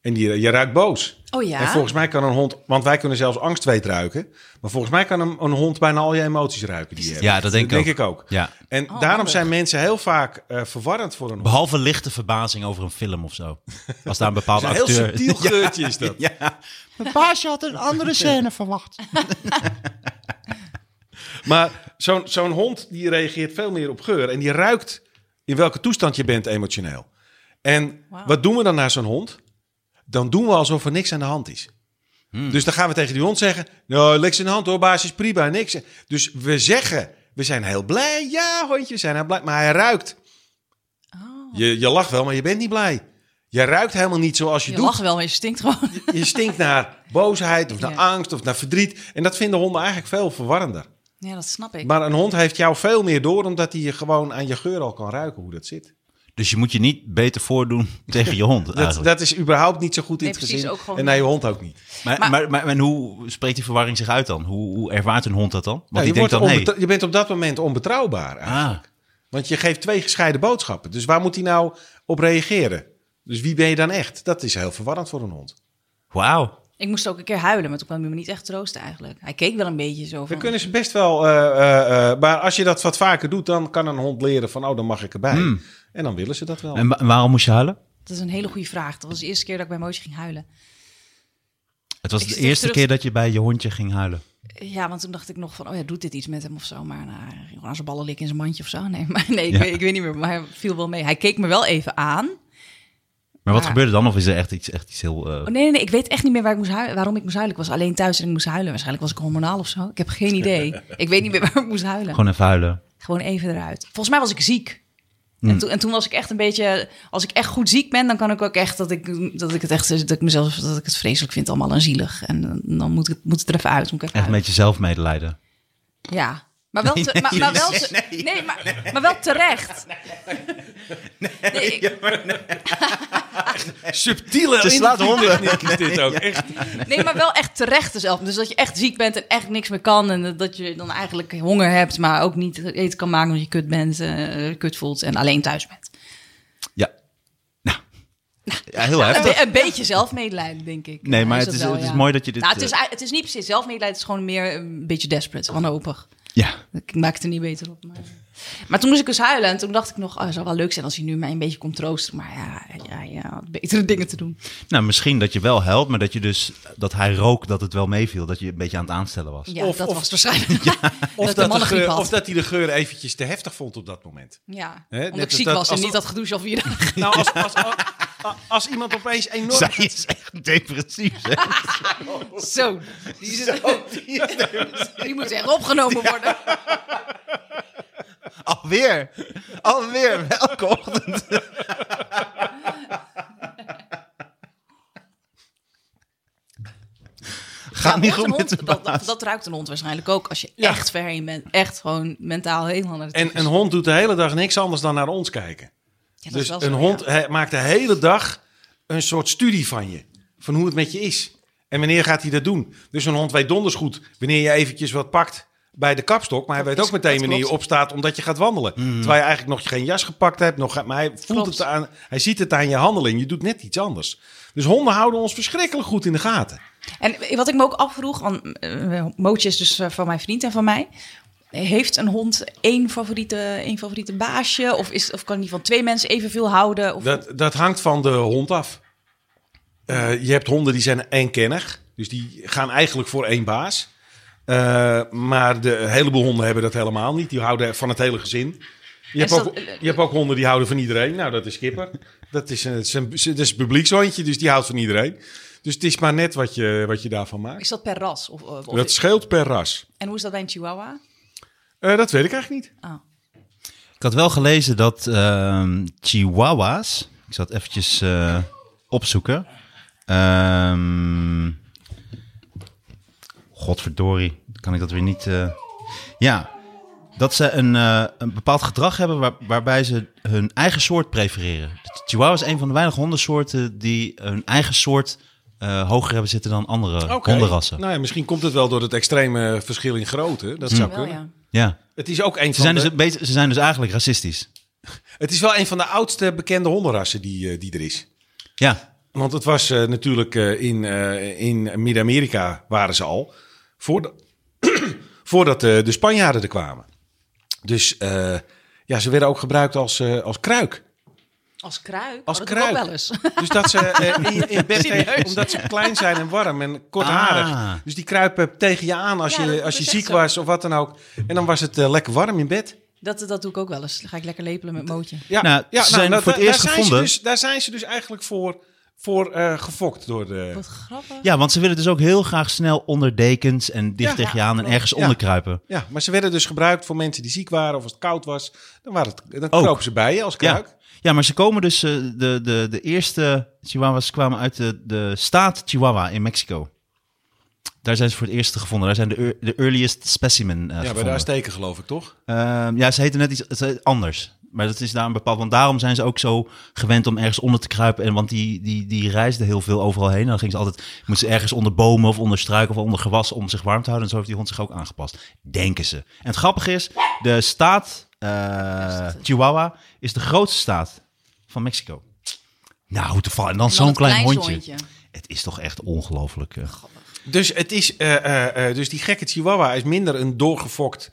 en die, je ruikt boos. Oh ja? En volgens mij kan een hond, want wij kunnen zelfs angstweet ruiken. Maar volgens mij kan een, een hond bijna al je emoties ruiken. Die je hebt. Ja, dat denk ik ook. ik ook. Ja. En Oh, daarom handig. zijn mensen heel vaak eh, verwarrend voor een hond. Behalve lichte verbazing over een film of zo. Als daar een bepaald Een heel acteur... subtiel <laughs> geurtje is dat. Ja. Mijn paasje had een andere scène verwacht. Maar zo'n zo'n hond die reageert veel meer op geur. En die ruikt in welke toestand je bent emotioneel. En Wauw. wat doen we dan naar zo'n hond? Dan doen we alsof er niks aan de hand is. Dus dan gaan we tegen die hond zeggen... Nou, niks aan de hand hoor, baas is prima, niks. Dus we zeggen, we zijn heel blij. Ja, hondje, we zijn heel blij. Maar hij ruikt. Oh. Je, je lacht wel, maar je bent niet blij. Je ruikt helemaal niet zoals je, Je doet. lacht wel, maar je stinkt gewoon. <laughs> Je stinkt naar boosheid of naar Ja. angst of naar verdriet. En dat vinden honden eigenlijk veel verwarrender. Ja, dat snap ik. Maar een hond heeft jou veel meer door, omdat hij je gewoon aan je geur al kan ruiken hoe dat zit. Dus je moet je niet beter voordoen <laughs> tegen je hond Dat, eigenlijk. dat is überhaupt niet zo goed in Nee, het precies, gezin. ook gewoon en naar je hond ook niet. maar, maar, maar, en hoe spreekt die verwarring zich uit dan? Hoe, hoe ervaart een hond dat dan? Want Nou, die je, denkt dan, wordt hé, onbetrouw- je bent op dat moment onbetrouwbaar. eigenlijk. ah, Want je geeft twee gescheiden boodschappen. Dus waar moet hij nou op reageren? Dus wie ben je dan echt? Dat is heel verwarrend voor een hond. wauw. Ik moest ook een keer huilen, maar toen kwam hij me niet echt troosten eigenlijk. Hij keek wel een beetje zo Dan van... kunnen ze best wel... eh, eh, eh, maar als je dat wat vaker doet, dan kan een hond leren van... oh, dan mag ik erbij. En dan willen ze dat wel. Hmm. En wa- waarom moest je huilen? Dat is een hele goede vraag. Dat was de eerste keer dat ik bij Mootje ging huilen. Het was Ik de stik eerste terug. keer dat je bij je hondje ging huilen. Ja, want toen dacht ik nog van, oh ja, doet dit iets met hem of zo? Maar nou, hij ging gewoon aan zijn ballen likken in zijn mandje of zo. Nee, maar, nee ik, Ja. weet, ik weet niet meer, maar hij viel wel mee. Hij keek me wel even aan. Oh, Maar wat Ah. gebeurde dan? Of is er echt iets, echt iets heel... eh, Oh, nee, nee, nee, ik weet echt niet meer waar ik moest huilen, waarom ik moest huilen. Ik was alleen thuis en ik moest huilen. Waarschijnlijk was ik hormonaal of zo. Ik heb geen idee. ik weet niet meer waar ik moest huilen. Gewoon even huilen. Gewoon even eruit. Volgens mij was ik ziek. En, Hmm. toen, en toen was ik echt een beetje... Als ik echt goed ziek ben, dan kan ik ook echt... Dat ik, dat ik het echt... Dat ik mezelf... Dat ik het vreselijk vind allemaal en zielig. En eh, dan moet, ik, het- moet het er even uit. Moet ik Echt even huilen. een beetje zelfmedelijden. Ja. Maar wel, te- maar, maar wel, te- nee, maar, maar wel <laughs> terecht. Nee, ik- Subtiele Ze slaat honden. is dit ook. Echt <laughs> nee, maar wel echt terecht zelf. Dus dat je echt ziek bent en echt niks meer kan. En dat je dan eigenlijk honger hebt, maar ook niet eten kan maken omdat je kut bent, eh, kut voelt en alleen thuis bent. Ja. Nou. Ja, heel Een, heftig. be- een beetje zelfmedelijden, denk ik. Nee, maar Is het dat is- het is mooi dat je dit, Nou, het, is, eh, ei- het is niet precies zelfmedelijden, het is gewoon meer een beetje desperate, wanhopig. Ja. Ik maak het er niet beter op. Maar, maar toen moest ik dus huilen. En toen dacht ik nog, oh, het zou wel leuk zijn als hij nu mij een beetje komt troosten. Maar ja, ja, ja, had betere dingen te doen. Nou, misschien dat je wel helpt, maar dat je dus dat hij rook dat het wel meeviel, dat je een beetje aan het aanstellen was. Ja, Of- dat of- <laughs> was waarschijnlijk. Ja, Of dat, dat, de de mannengriep geur- had. of dat hij de geur eventjes te heftig vond op dat moment. ja, Hè, net omdat ik als ziek dat- was en als niet dat- had gedoucht al <laughs> vier dagen. Nou, als, als, als, als iemand opeens enorm... Zij is echt depressief, <laughs> hè? Zo, die, is- <laughs> die moet echt opgenomen worden. Alweer. Alweer. Elke ochtend. Gaat Ja, niet goed hoort een met hond, de dat, dat, baas. dat ruikt een hond waarschijnlijk ook als je Ja. echt ver heen bent. Echt gewoon mentaal helemaal naar de tyfus. En een hond doet de hele dag niks anders dan naar ons kijken. Ja, dat Dus is wel een zo, ja. hond hij maakt de hele dag een soort studie van je. Van hoe het met je is. En wanneer gaat hij dat doen? Dus een hond weet donders goed wanneer je eventjes wat pakt bij de kapstok. Maar hij weet is- ook meteen dat wanneer je klopt. opstaat omdat je gaat wandelen. Terwijl je eigenlijk nog geen jas gepakt hebt. Nog, maar hij, voelt Klopt. het aan, hij ziet het aan je handeling. Je doet net iets anders. Dus honden houden ons verschrikkelijk goed in de gaten. En wat ik me ook afvroeg, want eh, Mootje is dus eh, van mijn vriend en van mij. Heeft een hond één favoriete, één favoriete baasje? Of, is, of kan die van twee mensen evenveel houden? Of, Dat, dat hangt van de hond af. Eh, je hebt honden die zijn eenkennig. Dus die gaan eigenlijk voor één baas. Eh, maar de een heleboel honden hebben dat helemaal niet. Die houden van het hele gezin. Je hebt, dat- eh, ook, je hebt ook honden die houden van iedereen. Nou, dat is Skipper. Dat is een, het is een, het is een publiekshondje, dus die houdt van iedereen. Dus het is maar net wat je, wat je daarvan maakt. is dat per ras? Of, eh, of- of- Dat scheelt per ras. en hoe is dat bij een chihuahua? Eh, dat weet ik eigenlijk niet. Ah. Ik had wel gelezen dat ehm, chihuahuas... Ik zal het eventjes eh, opzoeken. Ehm, godverdorie, kan ik dat weer niet... eh, ja, dat ze een, eh, een bepaald gedrag hebben waar- waarbij ze hun eigen soort prefereren. De chihuahua is een van de weinige hondensoorten die hun eigen soort... eh, hoger hebben zitten dan andere Oké. hondenrassen. Nou ja, misschien komt het wel door het extreme verschil in grootte. Dat zou Wel, kunnen. ja. Ja. Het is ook een Ze van zijn, de... dus een beetje- ze zijn dus eigenlijk racistisch. Het is wel een van de oudste bekende hondenrassen die, eh, die er is. Ja, Want het was eh, natuurlijk eh, in, eh, in Midden-Amerika waren ze al. Voordat, <clears throat> voordat eh, de Spanjaarden er kwamen. Dus eh, ja, ze werden ook gebruikt als, eh, als <laughs> kruik. Als kruik? Als Oh, dat doe ik ook kruik. wel eens. Dus dat ze eh, in, in bed Serieus? tegen- omdat ze klein zijn en warm en kortharig. Ah. Dus die kruipen tegen je aan als Ja, je, dat- als dat je is ziek echt zo. was of wat dan ook. En dan was het eh, lekker warm in bed. Dat, dat doe ik ook wel eens. Dan ga ik lekker lepelen met Mootje. Ja, Nou, ja, ze zijn dat- voor het daar eerst zijn gevonden. Ze dus, daar zijn ze dus eigenlijk voor, voor eh, gefokt door de... Wat grappig. ja, want ze willen dus ook heel graag snel onder dekens en dicht Ja. tegen je aan en ergens Ja. onderkruipen. Ja, maar ze werden dus gebruikt voor mensen die ziek waren of als het koud was. Dan, waren het, dan Ook. kropen ze bij je als Ja. kruik. ja, maar ze komen dus, eh, de, de, de eerste chihuahuas kwamen uit de, de staat Chihuahua in Mexico. Daar zijn ze voor het eerst gevonden. Daar zijn de, ear- de earliest specimen eh Ja, bij de gevonden. Azteken geloof ik, toch? Ehm, ja, ze heten net iets ze heten anders. Maar dat is daar een bepaald. Want daarom zijn ze ook zo gewend om ergens onder te kruipen. En want die, die, die reisden heel veel overal heen. En dan gingen ze altijd. Moesten ze ergens onder bomen of onder struiken of onder gewas om zich warm te houden. En zo heeft die hond zich ook aangepast. Denken ze. En het grappige is, de staat eh, Chihuahua is de grootste staat van Mexico. Nou, hoe toevallig. En dan En dan zo'n het klein kleinste hondje. hondje. Het is toch echt ongelooflijk. eh. Dus, het is, eh, eh, eh, dus die gekke chihuahua is minder een doorgefokt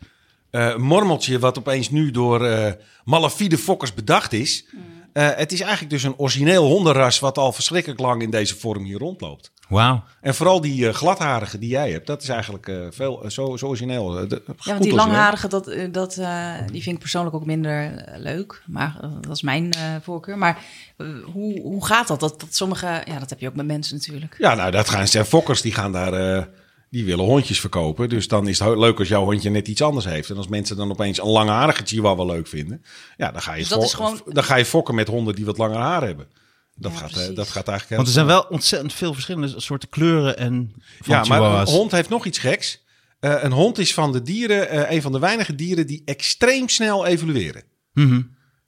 eh, mormeltje... wat opeens nu door eh malafide fokkers bedacht is. Eh, het is eigenlijk dus een origineel hondenras... wat al verschrikkelijk lang in deze vorm hier rondloopt. Wauw. En vooral die eh, gladharige die jij hebt, dat is eigenlijk eh, veel, eh, zo, zo origineel. Eh, de- goed Ja, want die origineel. langharige, dat, eh, dat, eh, die vind ik persoonlijk ook minder eh, leuk. Maar eh, dat is mijn eh, voorkeur. Maar eh, hoe, hoe gaat dat? dat? Dat sommige, ja, dat heb je ook met mensen natuurlijk. Ja, nou, dat gaan zijn fokkers, die gaan daar... eh, die willen hondjes verkopen. Dus dan is het heel leuk als jouw hondje net iets anders heeft. En als mensen dan opeens een langharige chihuahua leuk vinden... Ja, dan ga je, Dus dat fo- is gewoon- dan ga je fokken met honden die wat langer haar hebben. Dat, Ja, gaat, eh, precies. dat gaat eigenlijk heel Want er zijn wel ontzettend veel verschillende soorten kleuren en. Van Ja, maar Chihuahuas. een hond heeft nog iets geks. Eh, een hond is van de dieren, eh, een van de weinige dieren die extreem snel evolueren. Mhm.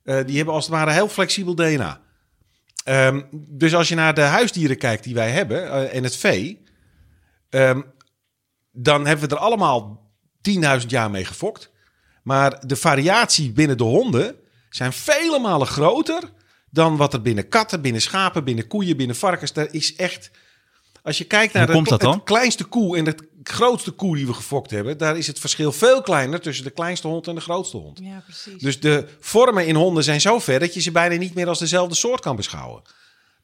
Eh, die hebben als het ware heel flexibel DNA. Ehm, dus als je naar de huisdieren kijkt die wij hebben eh, en het vee, ehm, dan hebben we er allemaal 10.000 jaar mee gefokt. Maar de variatie binnen de honden zijn vele malen groter dan wat er binnen katten, binnen schapen, binnen koeien, binnen varkens. Er is echt. Als je kijkt naar Hoe komt het, dat dan? het kleinste koe en het grootste koe die we gefokt hebben, daar is het verschil veel kleiner tussen de kleinste hond en de grootste hond. Ja, precies. Dus de vormen in honden zijn zo ver dat je ze bijna niet meer als dezelfde soort kan beschouwen.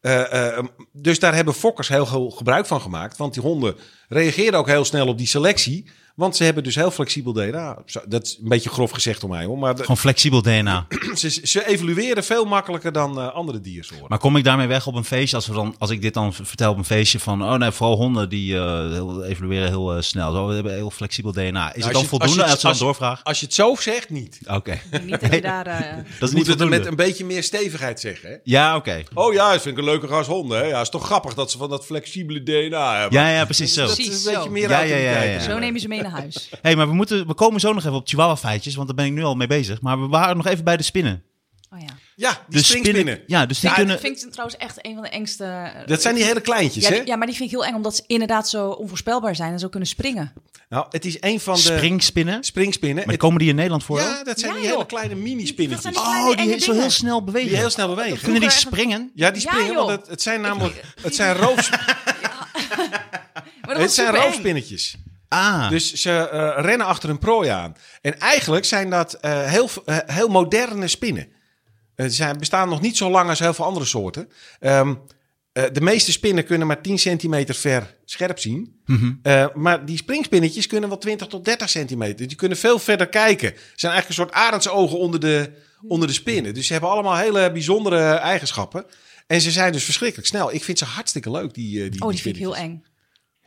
Eh, eh, dus daar hebben fokkers heel veel gebruik van gemaakt. Want die honden reageren ook heel snel op die selectie. Want ze hebben dus heel flexibel DNA. Zo, Dat is een beetje grof gezegd door mij hoor. Maar de- Gewoon flexibel DNA. ze, ze evolueren veel makkelijker dan eh, andere diersoorten. Maar kom ik daarmee weg op een feestje? Als, we dan, als ik dit dan v- vertel op een feestje van... Oh nee, vooral honden die eh, heel, evolueren heel eh, snel. Zo, we hebben heel flexibel DNA. Is Nou, het dan je- voldoende je- als ze dan doorvraag? Als je het zo zegt, niet. Oké. <laughs> Niet dat je daar... <laughs> eh, Dat Je is niet moet het er voldoende. met een beetje meer stevigheid zeggen. Hè? Ja, oké. Oh ja, dat vind ik een leuke ras honden. Hè? Ja, is toch grappig dat ze van dat flexibele DNA hebben. Ja, ja, precies zo. Dat is Precies een beetje zo. meer Ja, ja, ja, autoriteit. ja. zo neem je ze mee naar huis. hey, maar we, moeten, we komen zo nog even op chihuahua-feitjes, want daar ben ik nu al mee bezig. Maar we waren nog even bij de spinnen. Oh <laughs> ja. Ja, die De springspinnen. Ja, dus die Ja, kunnen... Dat vind ik trouwens echt een van de engste... eh, Dat zijn die hele kleintjes, ja, hè? die- ja, maar die vind ik heel eng, omdat ze inderdaad zo onvoorspelbaar zijn en zo kunnen springen. Nou, het is een van de Springspinnen. springspinnen. Maar Het- komen die in Nederland voor? ja, dat zijn Ja, die hele joh. kleine Dat mini-spinnetjes. zijn Oh, kleine oh, die enge he- zo dingen. heel snel bewegen. die heel snel bewegen. Kunnen die Vroeger echt- springen? Ja, die Ja, springen, want joh. het, het zijn <laughs> namelijk... Het zijn, roof, Maar dat het was zijn supereng. roofspinnetjes. Ah, Dus ze eh, rennen achter een prooi aan. En eigenlijk zijn dat eh, heel, eh, heel moderne spinnen. Eh, ze zijn- bestaan nog niet zo lang als heel veel andere soorten. Ehm, eh, de meeste spinnen kunnen maar 10 centimeter ver scherp zien. Mhm. Eh, maar die springspinnetjes kunnen wel 20 tot 30 centimeter. Dus Die kunnen veel verder kijken. Ze zijn eigenlijk een soort arendsogen onder de, onder de spinnen. Dus ze hebben allemaal hele bijzondere eigenschappen. En ze zijn dus verschrikkelijk snel. Ik vind ze hartstikke leuk, die, eh die Oh, die vind ik heel eng.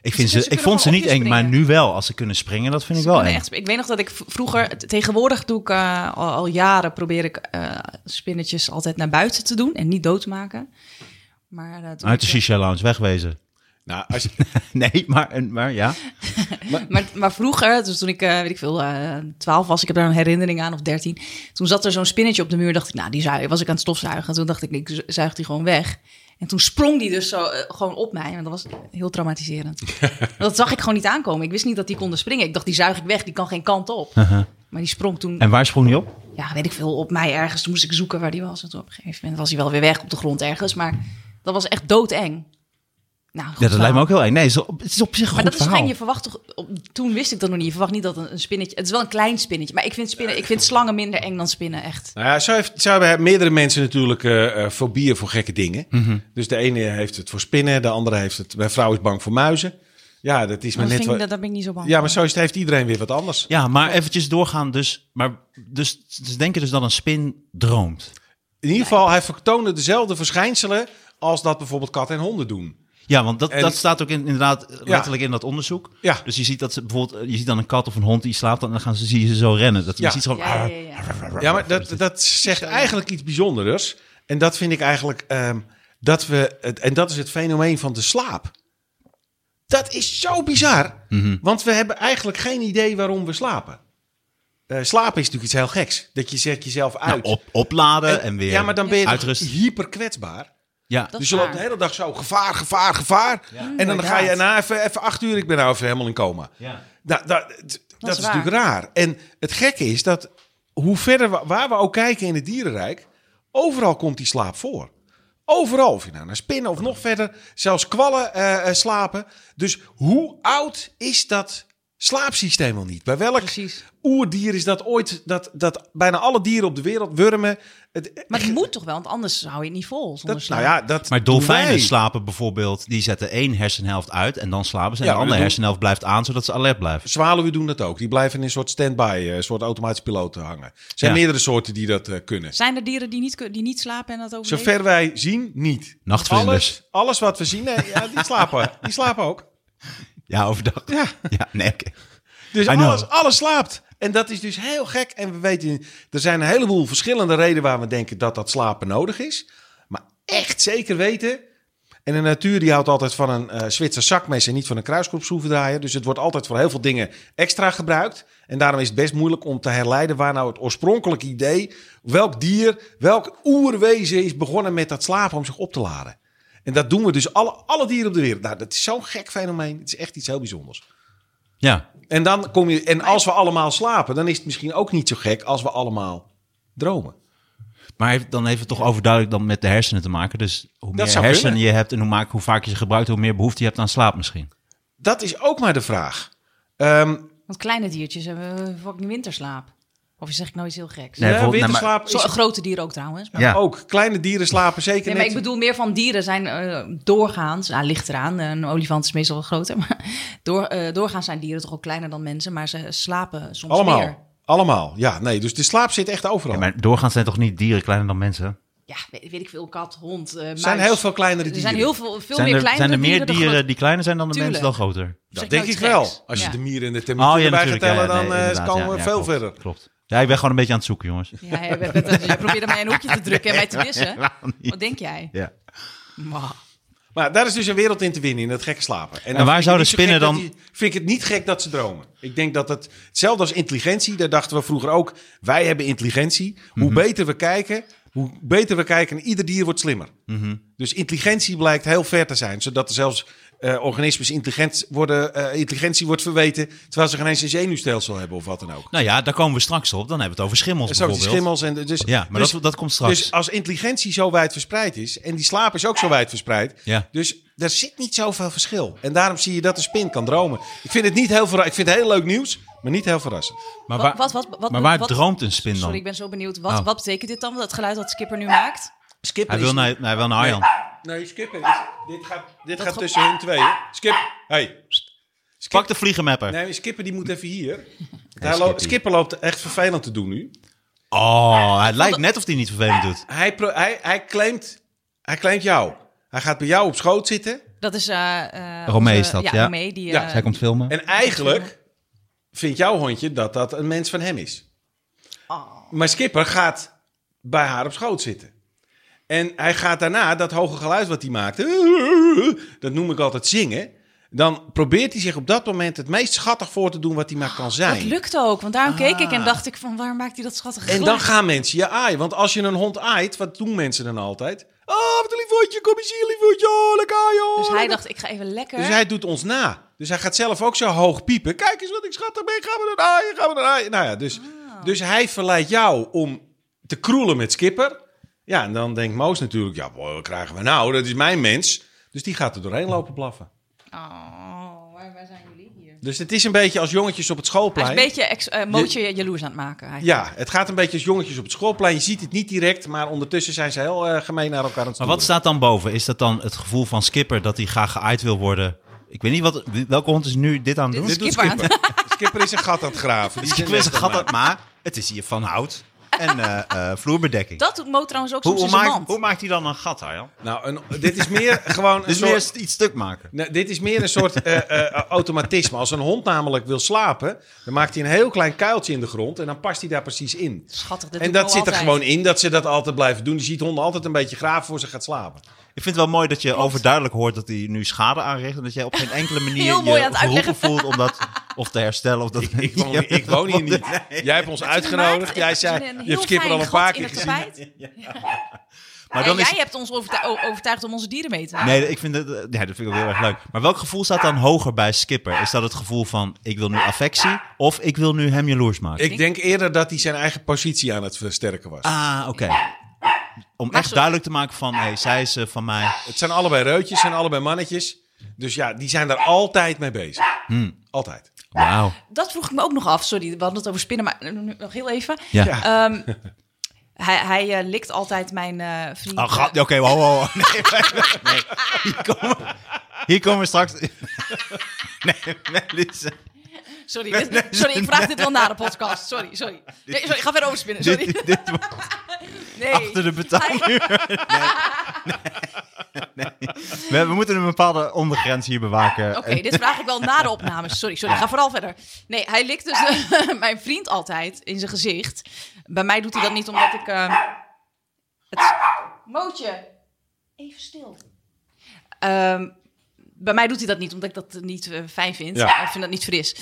ik, vind ze, ze ik kunnen vond ze gewoon niet op je eng, maar springen. nu wel. Als ze kunnen springen, dat vind ik Ze wel kunnen eng. echt- ik weet nog dat ik v- vroeger, t- tegenwoordig doe ik eh, al, al jaren, probeer ik eh, spinnetjes altijd naar buiten te doen en niet dood te maken. Maar, eh, toen Uit de ik- shisha lounge, wegwezen. <laughs> Nou, als je, Nee, maar, en- maar ja. eh, maar, maar vroeger, dus toen ik, eh, weet ik veel, twaalf was, ik heb daar een herinnering aan, of dertien. Toen zat er zo'n spinnetje op de muur, dacht ik, nou, die zui- was ik aan het stofzuigen. Toen dacht ik, ik zu- zuig die gewoon weg. En toen sprong die dus zo eh, gewoon op mij. En dat was heel <laughs> traumatiserend. dat zag ik gewoon niet aankomen. Ik wist niet dat die konden springen. Ik dacht, die zuig ik weg, die kan geen kant op. Uh-huh. Maar die sprong toen En waar sprong die op? ja, weet ik veel, op mij ergens. Toen moest ik zoeken waar die was. En toen op een gegeven moment was hij wel weer weg op de grond ergens. Maar dat was echt doodeng. Nou, goed Ja, dat verhaal. lijkt me ook heel eng. Nee, het is op, het is op zich een Maar goed dat is verhaal. geen, je verwacht toch... op- toen wist ik dat nog niet. Je verwacht niet dat een, een spinnetje... Het is wel een klein spinnetje. Maar ik vind, spinnen, ik vind slangen minder eng dan spinnen, echt. Nou ja, zo, heeft, zo hebben meerdere mensen natuurlijk eh eh, fobieën voor gekke dingen. Dus de ene heeft het voor spinnen, de andere heeft het. Mijn vrouw is bang voor muizen. Ja, dat is maar Maar net Oh, dat vind ik, wat. dat, daar ben ik niet zo bang Ja, voor. maar zo is het, heeft iedereen weer wat anders. Ja, maar eventjes doorgaan. Dus, maar, dus ze denken dus dat een spin droomt. In ieder geval, hij vertoonde dezelfde verschijnselen als dat bijvoorbeeld katten en honden doen. Ja, want dat, En- dat staat ook in, inderdaad letterlijk in dat onderzoek. Ja. Dus je ziet dat ze bijvoorbeeld, eh, je ziet dan een kat of een hond die slaapt dan, en dan gaan ze, zie je ze zo rennen. Dat, Ja. Je ziet gewoon, Ja, ja, ja, ja. Ja, maar dat, dat zegt eigenlijk iets bijzonders. En dat vind ik eigenlijk ehm, dat we. Het, en dat is het fenomeen van de slaap. Dat is zo bizar. Mhm. Want we hebben eigenlijk geen idee waarom we slapen. Eh, slapen is natuurlijk iets heel geks. Dat je zet jezelf nou, uit. op, opladen en, weer Ja, maar dan ben je uitrust. hyper kwetsbaar. Ja. Dat dus is je loopt de waar. hele dag zo gevaar, gevaar, gevaar. En dan ga je na even, even acht uur. Ik ben nou even helemaal in coma. Ja. Da- da- t- dat, is is waar. natuurlijk raar. En het gekke is dat hoe verder we, waar we ook kijken in het dierenrijk, overal komt die slaap voor. Overal, of je nou naar spinnen of nog verder, zelfs kwallen eh, eh, slapen. Dus hoe oud is dat slaapsysteem wel niet? Bij welk Precies. oerdier is dat ooit? Dat, dat bijna alle dieren op de wereld, wurmen. Het, eh, Maar het moet toch wel, want anders hou je het niet vol zonder dat, slang. nou ja, dat Maar doen dolfijnen wij. slapen bijvoorbeeld, die zetten één hersenhelft uit en dan slapen ze. En Ja, de maar dat andere doen- hersenhelft blijft aan, zodat ze alert blijven. Zwaluwen doen dat ook. Die blijven in een soort stand-by, eh, een soort automatische piloot hangen. Er zijn Ja. meerdere soorten die dat eh, kunnen. Zijn er dieren die niet, kun- die niet slapen en dat overleven? Zover wij zien, niet. Nachtvlinders. Alles, alles wat we zien, nee, ja, die, slapen, die slapen ook. Ja, overdag. <laughs> Ja. Ja, nee, oké. Dus I know. alles, alles slaapt. En dat is dus heel gek. En we weten, er zijn een heleboel verschillende redenen waar we denken dat dat slapen nodig is. Maar echt zeker weten. En de natuur die houdt altijd van een eh Zwitser zakmes en niet van een kruiskopschroevendraaier. Dus het wordt altijd voor heel veel dingen extra gebruikt. En daarom is het best moeilijk om te herleiden waar nou het oorspronkelijke idee, welk dier, welk oerwezen is begonnen met dat slapen om zich op te laden. En dat doen we dus alle, alle dieren op de wereld. Nou, dat is zo'n gek fenomeen. Het is echt iets heel bijzonders. Ja, En dan kom je. En als we allemaal slapen, dan is het misschien ook niet zo gek als we allemaal dromen. maar heeft- dan heeft het toch overduidelijk dan met de hersenen te maken. Dus hoe meer zou hersenen kunnen. je hebt en hoe, maak, hoe vaak je ze gebruikt, hoe meer behoefte je hebt aan slaap misschien. Dat is ook maar de vraag. Ehm, Want kleine diertjes hebben eh, fucking winterslaap. Of zeg ik nou iets heel geks? ja, Nee. Nee, bijvoorbeeld- winterslaap is grote dieren ook trouwens. Maar, Ja. ook. Kleine dieren slapen zeker nee, maar net. ik bedoel meer van dieren zijn eh, doorgaans, nou, ligt eraan, een olifant is meestal wel groter, <laughs> maar door, eh, doorgaans zijn dieren toch ook kleiner dan mensen, maar ze slapen soms Allemaal. meer. Allemaal, ja. Nee, dus de slaap zit echt overal. Ja, maar doorgaans zijn toch niet dieren kleiner dan mensen? Ja, weet, weet ik veel, kat, hond, eh er zijn muis. heel veel kleinere Er dieren. zijn heel veel, veel zijn, meer er, kleinere zijn er meer dieren. dieren, dan grote- die kleiner zijn dan de Tuurlijk. mensen dan groter? Dat Zeg denk nooit ik iets wel. geks. Als je Ja. de mieren en de temperatuur erbij gaat natuurlijk, Oh, ja, tellen, nee, dan eh, inderdaad, komen ja, we ja, veel klopt, verder. Klopt. Ja, ik ben gewoon een beetje aan het zoeken, jongens. Ja, jij bent- bent- jij probeerde mij in een hoekje te drukken en mij te <laughs> wissen. Waarom niet? Wat denk jij? Ja. Ma. Maar daar is dus een wereld in te winnen, in dat gekke slapen. En, waar dan vind ik zouden het niet zo spinnen gek dat die- vind ik het niet gek dat ze dromen. Ik denk dat het... Hetzelfde als intelligentie, daar dachten we vroeger ook... Wij hebben intelligentie. Hoe Mhm. beter we kijken, hoe beter we kijken... en ieder dier wordt slimmer. Mhm. Dus intelligentie blijkt heel ver te zijn. Zodat er zelfs eh, organismes intelligent worden, eh, intelligentie wordt verweten... terwijl ze geen eens een zenuwstelsel hebben of wat dan ook. Nou ja, daar komen we straks op. Dan hebben we het over schimmels En zo die bijvoorbeeld. schimmels en de- dus Ja, maar dus, dat, dat komt straks. dus als intelligentie zo wijd verspreid is en die slaap is ook zo wijd verspreid, Ja. dus daar zit niet zoveel verschil. En daarom zie je dat een spin kan dromen. Ik vind het niet heel verra- Ik vind het heel leuk nieuws, maar niet heel verrassend. maar Wat- waar, wat- wat- wat- maar waar wat- droomt een spin dan? Sorry, ik ben zo benieuwd. Wat, Oh. wat betekent dit dan, dat geluid dat Skipper nu maakt? Skipper Hij wil is- naar, hij wil naar Arjan. Nee, Skipper is- Dit gaat, dit gaat ge- tussen hun twee. hè. Skip. Hey. Pak de vliegenmapper. Nee, Skipper die moet even hier. Daar lo- Skipper loopt echt vervelend te doen nu. Oh, het lijkt net of hij niet vervelend doet. Hij, pro- hij, hij, claimt, hij claimt jou. Hij gaat bij jou op schoot zitten. Dat is... eh eh, Romee onze- is dat, ja. ja. Romee, die, Ja, eh, Zij komt filmen. En eigenlijk vindt jouw hondje dat dat een mens van hem is. Oh. Maar Skipper gaat bij haar op schoot zitten. En hij gaat daarna dat hoge geluid wat hij maakte, dat noem ik altijd zingen. Dan probeert hij zich op dat moment het meest schattig voor te doen wat hij maar kan dat zijn. lukt ook, want daarom keek ik en dacht ik van, waar maakt hij dat schattige Ah. En geluid? dan gaan mensen je aaien. Want als je een hond aait, wat doen mensen dan altijd? Ah, wat een lief hondje, kom eens hier, lief hondje, oh, lekker aaien, oh, Dus hij lekker dacht, ik ga even lekker. Dus hij doet ons na. Dus hij gaat zelf ook zo hoog piepen. Kijk eens wat ik schattig ben. Gaan we naar aaien, gaan we naar aaien. Nou ja, dus, Ah. dus hij verleidt jou om te kroelen met Skipper. Ja, en dan denkt Moos natuurlijk... Ja, boy, wat krijgen we nou? Dat is mijn mens. Dus die gaat er doorheen lopen blaffen. Oh, waar, waar zijn jullie hier? Dus het is een beetje als jongetjes op het Hij is schoolplein. een beetje ex, eh, Mootje jaloers aan het maken. eigenlijk. Ja, het gaat een beetje als jongetjes op het schoolplein. Je ziet het niet direct, maar ondertussen zijn ze heel eh, gemeen naar elkaar aan het Maar wat stoeren. staat dan boven? Is dat dan het gevoel van Skipper dat hij graag geaaid wil worden? Ik weet niet, wat, welke hond is nu dit aan het doen? Dit is Dit doet Skipper aan het- Skipper is een gat aan het graven. Die is Ik een wist nest aan gat het uit, maar het is hier van hout en eh, eh, vloerbedekking. Dat doet Mo trouwens ook hoe, soms hoe, in zijn maakt, mand. hoe maakt hij dan een gat, Arjan? maken. Nou, een- dit is meer gewoon... een Dus soort- meer st- iets stuk maken. Nou, dit is meer een soort eh, eh, automatisme. Als een hond namelijk wil slapen, dan maakt hij een heel klein kuiltje in de grond en dan past hij daar precies in. Schattig, dat en doet dat Mo zit er altijd. gewoon in dat ze dat altijd blijven doen. Je ziet honden altijd een beetje graven voor ze gaat slapen. Ik vind het wel mooi dat je overduidelijk hoort dat hij nu schade aanricht. En dat jij op geen enkele manier Heel mooi je aan het geroepen uitleggen. voelt om dat of te herstellen. Of dat, ik, <laughs> Jij hebt ons Maakt- een heel fijn gat in het tapijt. Maar en dan jij is, hebt ons overtu- Ah. o- overtuigd om onze dieren mee te nemen. nee, ik vind dat, eh, ja, dat vind ik wel heel erg leuk. Maar welk gevoel staat dan hoger bij Skipper? Is dat het gevoel van ik wil nu affectie of ik wil nu hem jaloers maken? Ik denk eerder dat hij zijn eigen positie aan het versterken was. Ah, oké. Om echt zo- duidelijk te maken van, hey, zij is eh, van mij. Het zijn allebei reutjes, het zijn allebei mannetjes. Dus ja, die zijn daar altijd mee bezig. Hmm. Altijd. Wauw. Dat vroeg ik me ook nog af. Sorry, we hadden het over spinnen, maar eh, nog heel even. Ja. Ja. Ehm, hij hij eh, likt altijd mijn eh vriend. Oh, gat. Oké, wow, wow, wow. Nee, nee, <laughs> nee. Hier komen, hier komen we straks... <laughs> Nee, Melissa. Sorry, dit- sorry, ik vraag dit wel na de podcast. Sorry, sorry. Nee, sorry, ik ga verder over spinnen. Dit, Sorry. dit, dit wordt <laughs> Nee. achter de <laughs> betaaluur. Nee. Nee. We, we moeten een bepaalde ondergrens hier bewaken. Oké, dit vraag ik wel na de opname. Sorry, sorry. Ga vooral verder. Nee, hij likt dus eh, <laughs> mijn vriend altijd in zijn gezicht. Bij mij doet hij dat niet omdat ik... eh, het... Mootje, even stil. Ehm, bij mij doet hij dat niet omdat ik dat niet eh, fijn vind. Ja. Ik vind dat niet fris.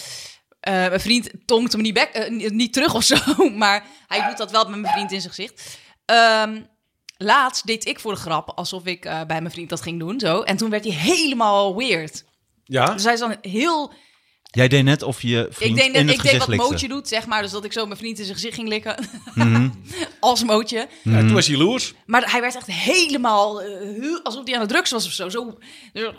Eh, mijn vriend tongt hem niet, bek, eh, niet- niet terug of zo. <laughs> Maar hij doet dat wel met mijn vriend in zijn gezicht. Ehm, laatst deed ik voor de grap alsof ik eh, bij mijn vriend dat ging doen. Zo. En toen werd hij helemaal weird. Ja? Dus hij is dan heel Jij deed net of je vriend Ik denk in dat het ik deed gezicht wat likte. Mootje doet, zeg maar. Dus dat ik zo mijn vriend in zijn gezicht ging likken. <laughs> Als Mootje. Ja, toen was hij loers. Maar hij werd echt helemaal, eh, hu- alsof hij aan de drugs was of zo. zo dus, ah,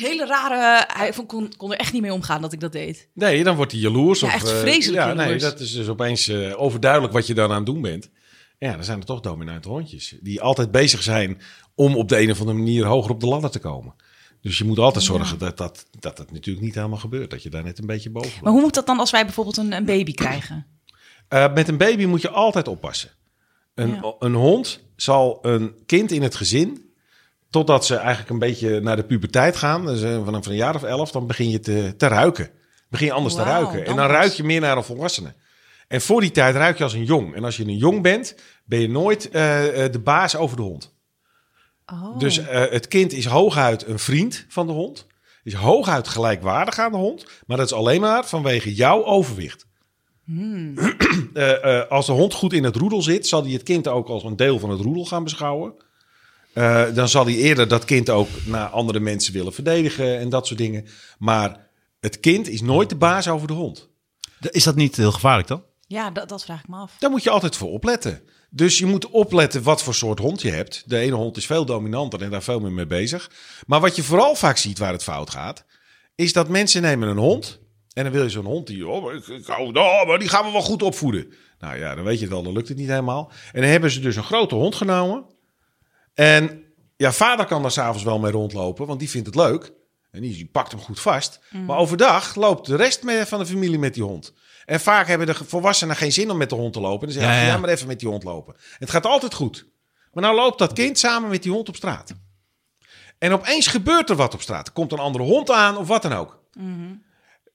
hele rare, hij vond- kon, kon er echt niet mee omgaan dat ik dat deed. Nee, dan wordt hij jaloers. Ja, of, echt eh, vreselijk ja, nee, jaloers. dat is dus opeens eh, overduidelijk wat je dan aan het doen bent. Ja, dan zijn er toch dominante hondjes. Die altijd bezig zijn om op de een of andere manier hoger op de ladder te komen. Dus je moet altijd zorgen dat, dat, dat dat natuurlijk niet helemaal gebeurt. Dat je daar net een beetje boven Maar bent. hoe moet dat dan als wij bijvoorbeeld een, een baby krijgen? Eh, met een baby moet je altijd oppassen. Een, Ja. een hond zal een kind in het gezin, totdat ze eigenlijk een beetje naar de puberteit gaan, dus eh, vanaf een jaar of elf, dan begin je te, te ruiken. Begin je anders te Wauw, ruiken. En dan dan pas. ruik je meer naar een volwassene. En voor die tijd ruik je als een jong. En als je een jong bent, ben je nooit eh, eh, de baas over de hond. Oh. Dus eh, het kind is hooguit een vriend van de hond. Is hooguit gelijkwaardig aan de hond. Maar dat is alleen maar vanwege jouw overwicht. <clears throat> Eh, eh, als de hond goed in het roedel zit, zal hij het kind ook als een deel van het roedel gaan beschouwen. Eh, dan zal hij eerder dat kind ook naar andere mensen willen verdedigen en dat soort dingen. Maar het kind is nooit de baas over de hond. Is dat niet heel gevaarlijk dan? ja, dat, dat vraag ik me af. Daar moet je altijd voor opletten. Dus je moet opletten wat voor soort hond je hebt. De ene hond is veel dominanter en daar veel meer mee bezig. Maar wat je vooral vaak ziet waar het fout gaat, is dat mensen nemen een hond. En dan wil je zo'n hond die, oh, maar ik, ik hou, oh, maar die gaan we wel goed opvoeden. Nou ja, dan weet je het wel, dan lukt het niet helemaal. En dan hebben ze dus een grote hond genomen. En ja, vader kan daar s'avonds wel mee rondlopen, want die vindt het leuk. En die, die pakt hem goed vast. Maar overdag loopt de rest me- van de familie met die hond. En vaak hebben de ge- volwassenen geen zin om met de hond te lopen. En dan zeggen Ja, ze, ja, ja. maar even met die hond lopen. Het gaat altijd goed. Maar nou loopt dat kind samen met die hond op straat. En opeens gebeurt er wat op straat. Er komt een andere hond aan of wat dan ook. Mhm.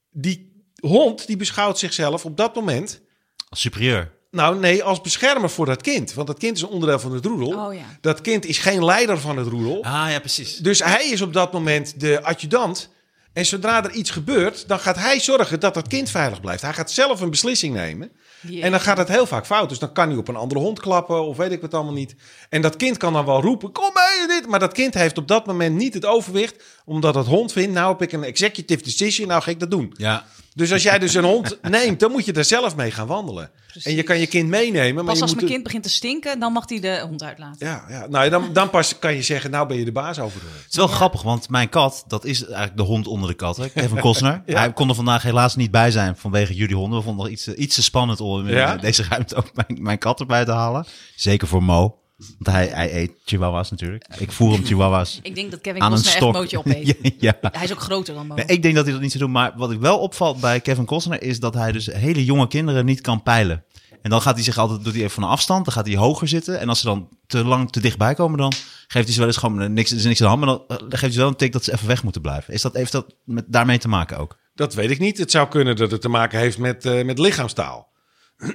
Die hond die beschouwt zichzelf op dat moment Als superieur. nou, nee, als beschermer voor dat kind. Want dat kind is een onderdeel van het roedel. Oh, ja. Dat kind is geen leider van het roedel. Ah ja, precies. Dus hij is op dat moment de adjudant. En zodra er iets gebeurt, dan gaat hij zorgen dat dat kind veilig blijft. Hij gaat zelf een beslissing nemen. Jee. En dan gaat het heel vaak fout. Dus dan kan hij op een andere hond klappen of weet ik wat allemaal niet. En dat kind kan dan wel roepen, kom mee, dit. Maar dat kind heeft op dat moment niet het overwicht. Omdat het hond vindt, nou heb ik een executive decision, nou ga ik dat doen. Ja. Dus als jij dus een hond neemt, dan moet je daar zelf mee gaan wandelen. En je kan je kind meenemen. Maar Pas je als moet mijn kind begint te stinken, dan mag hij de hond uitlaten. Ja, ja. Nou, ja, dan, dan pas kan je zeggen, nou ben je de baas over de hond. Het is wel grappig, want mijn kat, dat is eigenlijk de hond onder de kat. Hè? Kevin <laughs> Costner. Hij kon er vandaag helaas niet bij zijn vanwege jullie honden. We vonden het iets, eh, iets te spannend om in Ja? eh, deze ruimte ook mijn, mijn kat erbij te halen. Zeker voor Mo. Want hij, hij eet chihuahuas natuurlijk. Ik voer hem chihuahua's Ik denk dat Kevin aan een Costner echt stok. <laughs> Mootje opeet. ja, ja. Hij is ook groter dan Mo. Nee, ik denk dat hij dat niet zou doen. Maar wat ik wel opvalt bij Kevin Costner is dat hij dus hele jonge kinderen niet kan peilen. En dan gaat hij zich altijd, doet hij even van een afstand, dan gaat hij hoger zitten. En als ze dan te lang, te dichtbij komen, dan geeft hij ze wel eens gewoon eh, niks, er is niks aan de hand. Maar dan eh, dan geeft hij ze wel een tik dat ze even weg moeten blijven. Is dat, heeft dat met, daarmee te maken ook? Dat weet ik niet. Het zou kunnen dat het te maken heeft met, eh, met lichaamstaal. <clears throat>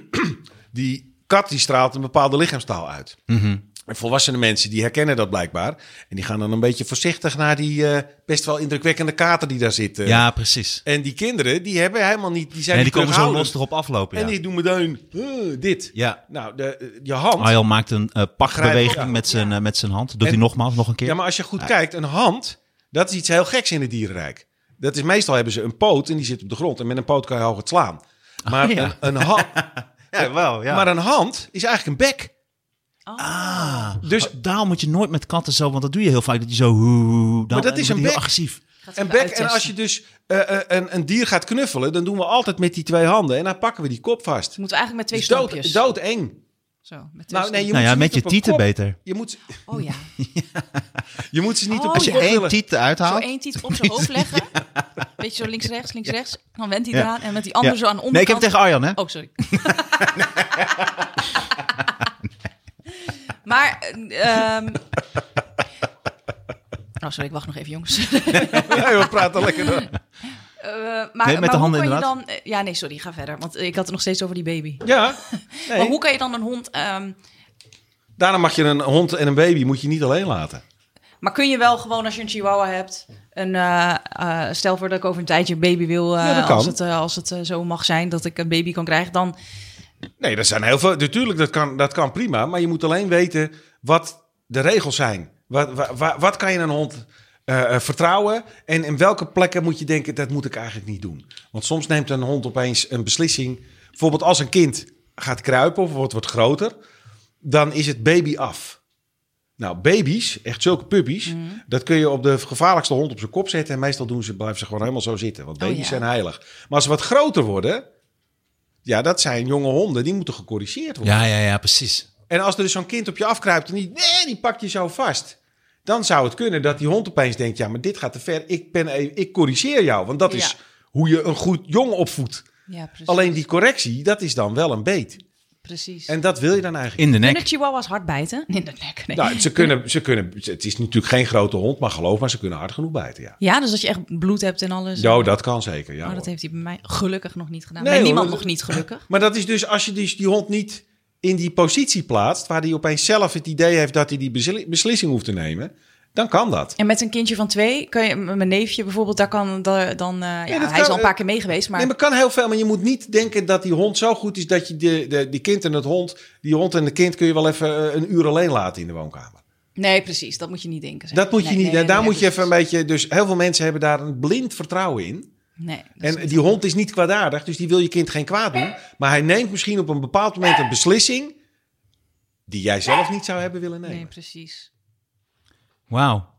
die kat die straalt een bepaalde lichaamstaal uit. Mhm. En volwassene mensen die herkennen dat blijkbaar. En die gaan dan een beetje voorzichtig naar die eh, best wel indrukwekkende kater die daar zit. eh. ja, precies. En die kinderen, die hebben helemaal niet... Die zijn Nee, die komen zo los terughoudend. erop aflopen. En Ja. die doen meteen eh, dit. ja. Nou, de, eh, je hand... Arjan maakt een eh, pakbeweging ja. met zijn, eh, met zijn hand. Doet En- hij nogmaals, nog een keer. Ja, maar als je goed kijkt, een hand, dat is iets heel geks in het dierenrijk. Dat is meestal hebben ze een poot en die zit op de grond. En met een poot kan je hoog het slaan. Maar, Ah, ja. een, een <laughs> hand, Ja, wel, ja. maar een hand is eigenlijk een bek. Oh, Ah, Dus- dus daarom moet je nooit met katten zo, want dat doe je heel vaak. Dat je zo. hoe, hoe, hoe, dan- dat dan wordt is een hij heel bek. agressief. Gaat Een even bek. En uittesten. als je dus eh, eh, een, een dier gaat knuffelen, dan doen we altijd met die twee handen. En dan pakken we die kop vast. Moeten we eigenlijk met twee Dus dood- stompjes. Doodeng. Zo, met twee Nou, nee, je Nou moet ja, met ze niet je op een tieten kop- beter. Je <laughs> moet, ze- stompjes. Oh ja. je moet ze niet Oh, op Als een je ja. kop één willen. tiet eruit Zo haalt. één tiet op zijn hoofd <laughs> leggen. Beetje zo links, rechts, links, rechts. Dan wendt hij Ja. eraan. En met die andere Ja. zo aan de onderkant. Nee, ik heb tegen Arjan, hè? Oh, sorry. <laughs> maar, ehm Oh, sorry, ik wacht nog even, jongens. <laughs> Ja, we praten lekker door. Eh, Nee, maar met maar de handen hoe kan je inderdaad. dan... eh, Ja, nee, sorry, ga verder. Want ik had het nog steeds over die baby. Ja, nee. Maar hoe kan je dan een hond... ehm, daarom mag je een hond en een baby moet je niet alleen laten. maar kun je wel gewoon, als je een chihuahua hebt... Een, eh, eh, stel voor dat ik over een tijdje een baby wil... eh, Ja, dat kan. als het, eh, als het eh, zo mag zijn dat ik een baby kan krijgen, dan... Nee, dat zijn heel veel. Natuurlijk, dat kan, dat kan prima. Maar je moet alleen weten wat de regels zijn. Wat, wa- wa- wat kan je een hond eh, eh, vertrouwen? En in welke plekken moet je denken, dat moet ik eigenlijk niet doen? Want soms neemt een hond opeens een beslissing. Bijvoorbeeld als een kind gaat kruipen of wordt wat groter, dan is het baby af. Nou, baby's, echt zulke puppies, Mhm. dat kun je op de gevaarlijkste hond op zijn kop zetten. En meestal doen ze, blijven ze gewoon helemaal zo zitten, want Oh, baby's ja. zijn heilig. Maar als ze wat groter worden, ja, dat zijn jonge honden, die moeten gecorrigeerd worden. Ja, ja, ja, precies. En als er dus zo'n kind op je afkruipt en die, nee, die pakt je zo vast. Dan zou het kunnen dat die hond opeens denkt, ja, maar dit gaat te ver. Ik, ben, even- ik corrigeer jou, want dat Ja. is hoe je een goed jong opvoedt. Ja, precies. Alleen die correctie, dat is dan wel een beet. precies. En dat wil je dan eigenlijk. In de Kunnen nek. chihuahuas hard bijten? In de nek, nee. Nou, ze kunnen, ze kunnen, het is natuurlijk geen grote hond, maar geloof maar, ze kunnen hard genoeg bijten, ja. Ja, dus dat je echt bloed hebt en alles. Jo, dat kan zeker, ja. Oh, dat hoor. heeft hij bij mij gelukkig nog niet gedaan. Nee, bij hoor, niemand dat- nog niet, gelukkig. Maar dat is dus als je dus die hond niet in die positie plaatst, waar hij opeens zelf het idee heeft dat hij die besli- beslissing hoeft te nemen, dan kan dat. En met een kindje van twee, kan je, m- mijn neefje bijvoorbeeld, daar kan da- dan... eh, ja, dat hij kan, is al een paar eh, keer mee geweest, maar... Nee, maar kan heel veel. Maar je moet niet denken dat die hond zo goed is dat je de, de, die kind en het hond, die hond en de kind kun je wel even eh, een uur alleen laten in de woonkamer. nee, precies, dat moet je niet denken. zeg. Dat moet je Nee, niet. nee, daar nee, nee, moet je even een precies. beetje. Dus heel veel mensen hebben daar een blind vertrouwen in. Nee, dat is En niet- die hond is niet kwaadaardig, dus die wil je kind geen kwaad doen. Maar hij neemt misschien op een bepaald moment een beslissing die jij zelf niet zou hebben willen Nee, nemen. precies. Wauw.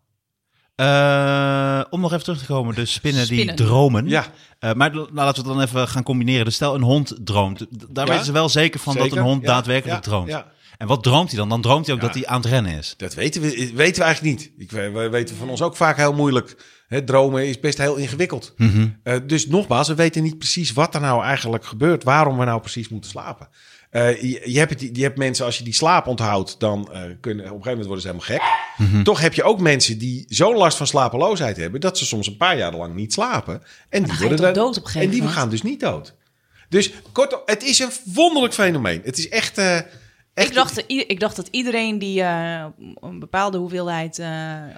Eh, om nog even terug te komen, de spinnen, Spinnen. die dromen. Ja. Eh, maar nou, laten we het dan even gaan combineren. Dus stel, een hond droomt. D- Daar Ja. weten ze wel zeker van dat Zeker, een hond ja, daadwerkelijk ja, droomt. ja. En wat droomt hij dan? Dan droomt hij ook Ja. dat hij aan het rennen is. Dat weten we, weten we eigenlijk niet. Ik, we we weten van ons ook vaak heel moeilijk. Hè, dromen is best heel ingewikkeld. Mhm. Eh, dus nogmaals, we weten niet precies wat er nou eigenlijk gebeurt. Waarom we nou precies moeten slapen. Eh, je, je, hebt het, je hebt mensen, als je die slaap onthoudt, dan eh, kunnen op een gegeven moment worden ze helemaal gek. Mhm. Toch heb je ook mensen die zo'n last van slapeloosheid hebben... dat ze soms een paar jaar lang niet slapen. En die ga je worden toch dan- dood op een En gegeven die moment? gaan dus niet dood. Dus kortom, het is een wonderlijk fenomeen. Het is echt... eh, echt Ik dacht, i- ik dacht dat iedereen die eh, een bepaalde hoeveelheid... eh,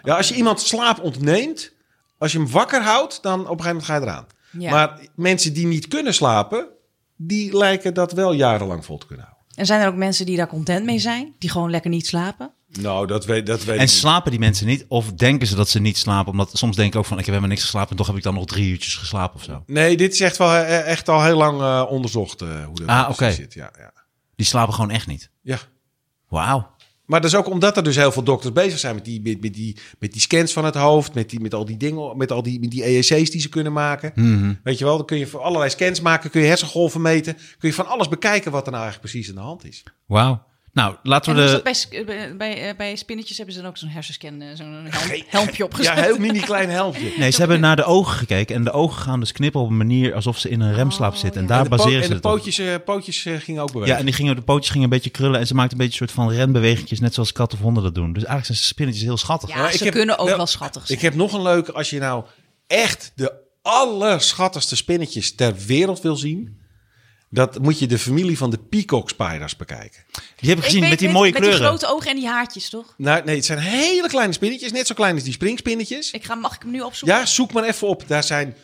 Ja, als je iemand slaap ontneemt, als je hem wakker houdt, dan op een gegeven moment ga je eraan. Ja. Maar mensen die niet kunnen slapen, die lijken dat wel jarenlang vol te kunnen houden. En zijn er ook mensen die daar content mee zijn? Die gewoon lekker niet slapen? Nou, dat weet, dat weet En slapen die mensen niet? Of denken ze dat ze niet slapen? Omdat soms denk ik ook van, ik heb helemaal niks geslapen... en toch heb ik dan nog drie uurtjes geslapen of zo. Nee, dit is echt, wel, eh, echt al heel lang eh, onderzocht eh, hoe dat Ah, precies oké. zit. Ja, ja. Die slapen gewoon echt niet. ja. Wauw. Maar dat is ook omdat er dus heel veel dokters bezig zijn met die, met, met die, met die scans van het hoofd, met, die, met al die dingen, met al die, met die EEC's die ze kunnen maken. Mhm. Weet je wel, dan kun je voor allerlei scans maken, kun je hersengolven meten, kun je van alles bekijken wat er nou eigenlijk precies aan de hand is. Wauw. Nou, laten En we is de... dat bij, sk- bij, bij, eh, bij spinnetjes hebben ze dan ook zo'n hersenscan, eh, zo'n helm, Geen- helmpje Ja, opgezet. heel mini klein helmpje. dus Nee, ze hebben naar de ogen gekeken. En de ogen gaan dus knippen op een manier alsof ze in een Oh, remslaap zitten. En daar de po- baseren ze en de het op. pootjes, eh, pootjes eh, gingen ook bewegen. Ja, en die gingen, de pootjes gingen een beetje krullen. En ze maakten een beetje een soort van renbewegingjes. Net zoals katten of honden dat doen. Dus eigenlijk zijn spinnetjes heel schattig. Ja, ik ze heb- kunnen ook wel- wel schattig zijn. Ik heb nog een leuke. Als je nou echt de allerschattigste spinnetjes ter wereld wil zien... dat moet je de familie van de peacock spiders bekijken. Die heb ik Ik gezien weet- met die weet- mooie met kleuren. die grote ogen en die haartjes, toch? Nou, nee, het zijn hele kleine spinnetjes. Net zo klein als die springspinnetjes. Ik ga, mag ik hem nu opzoeken? Ja, zoek maar even op. Daar zijn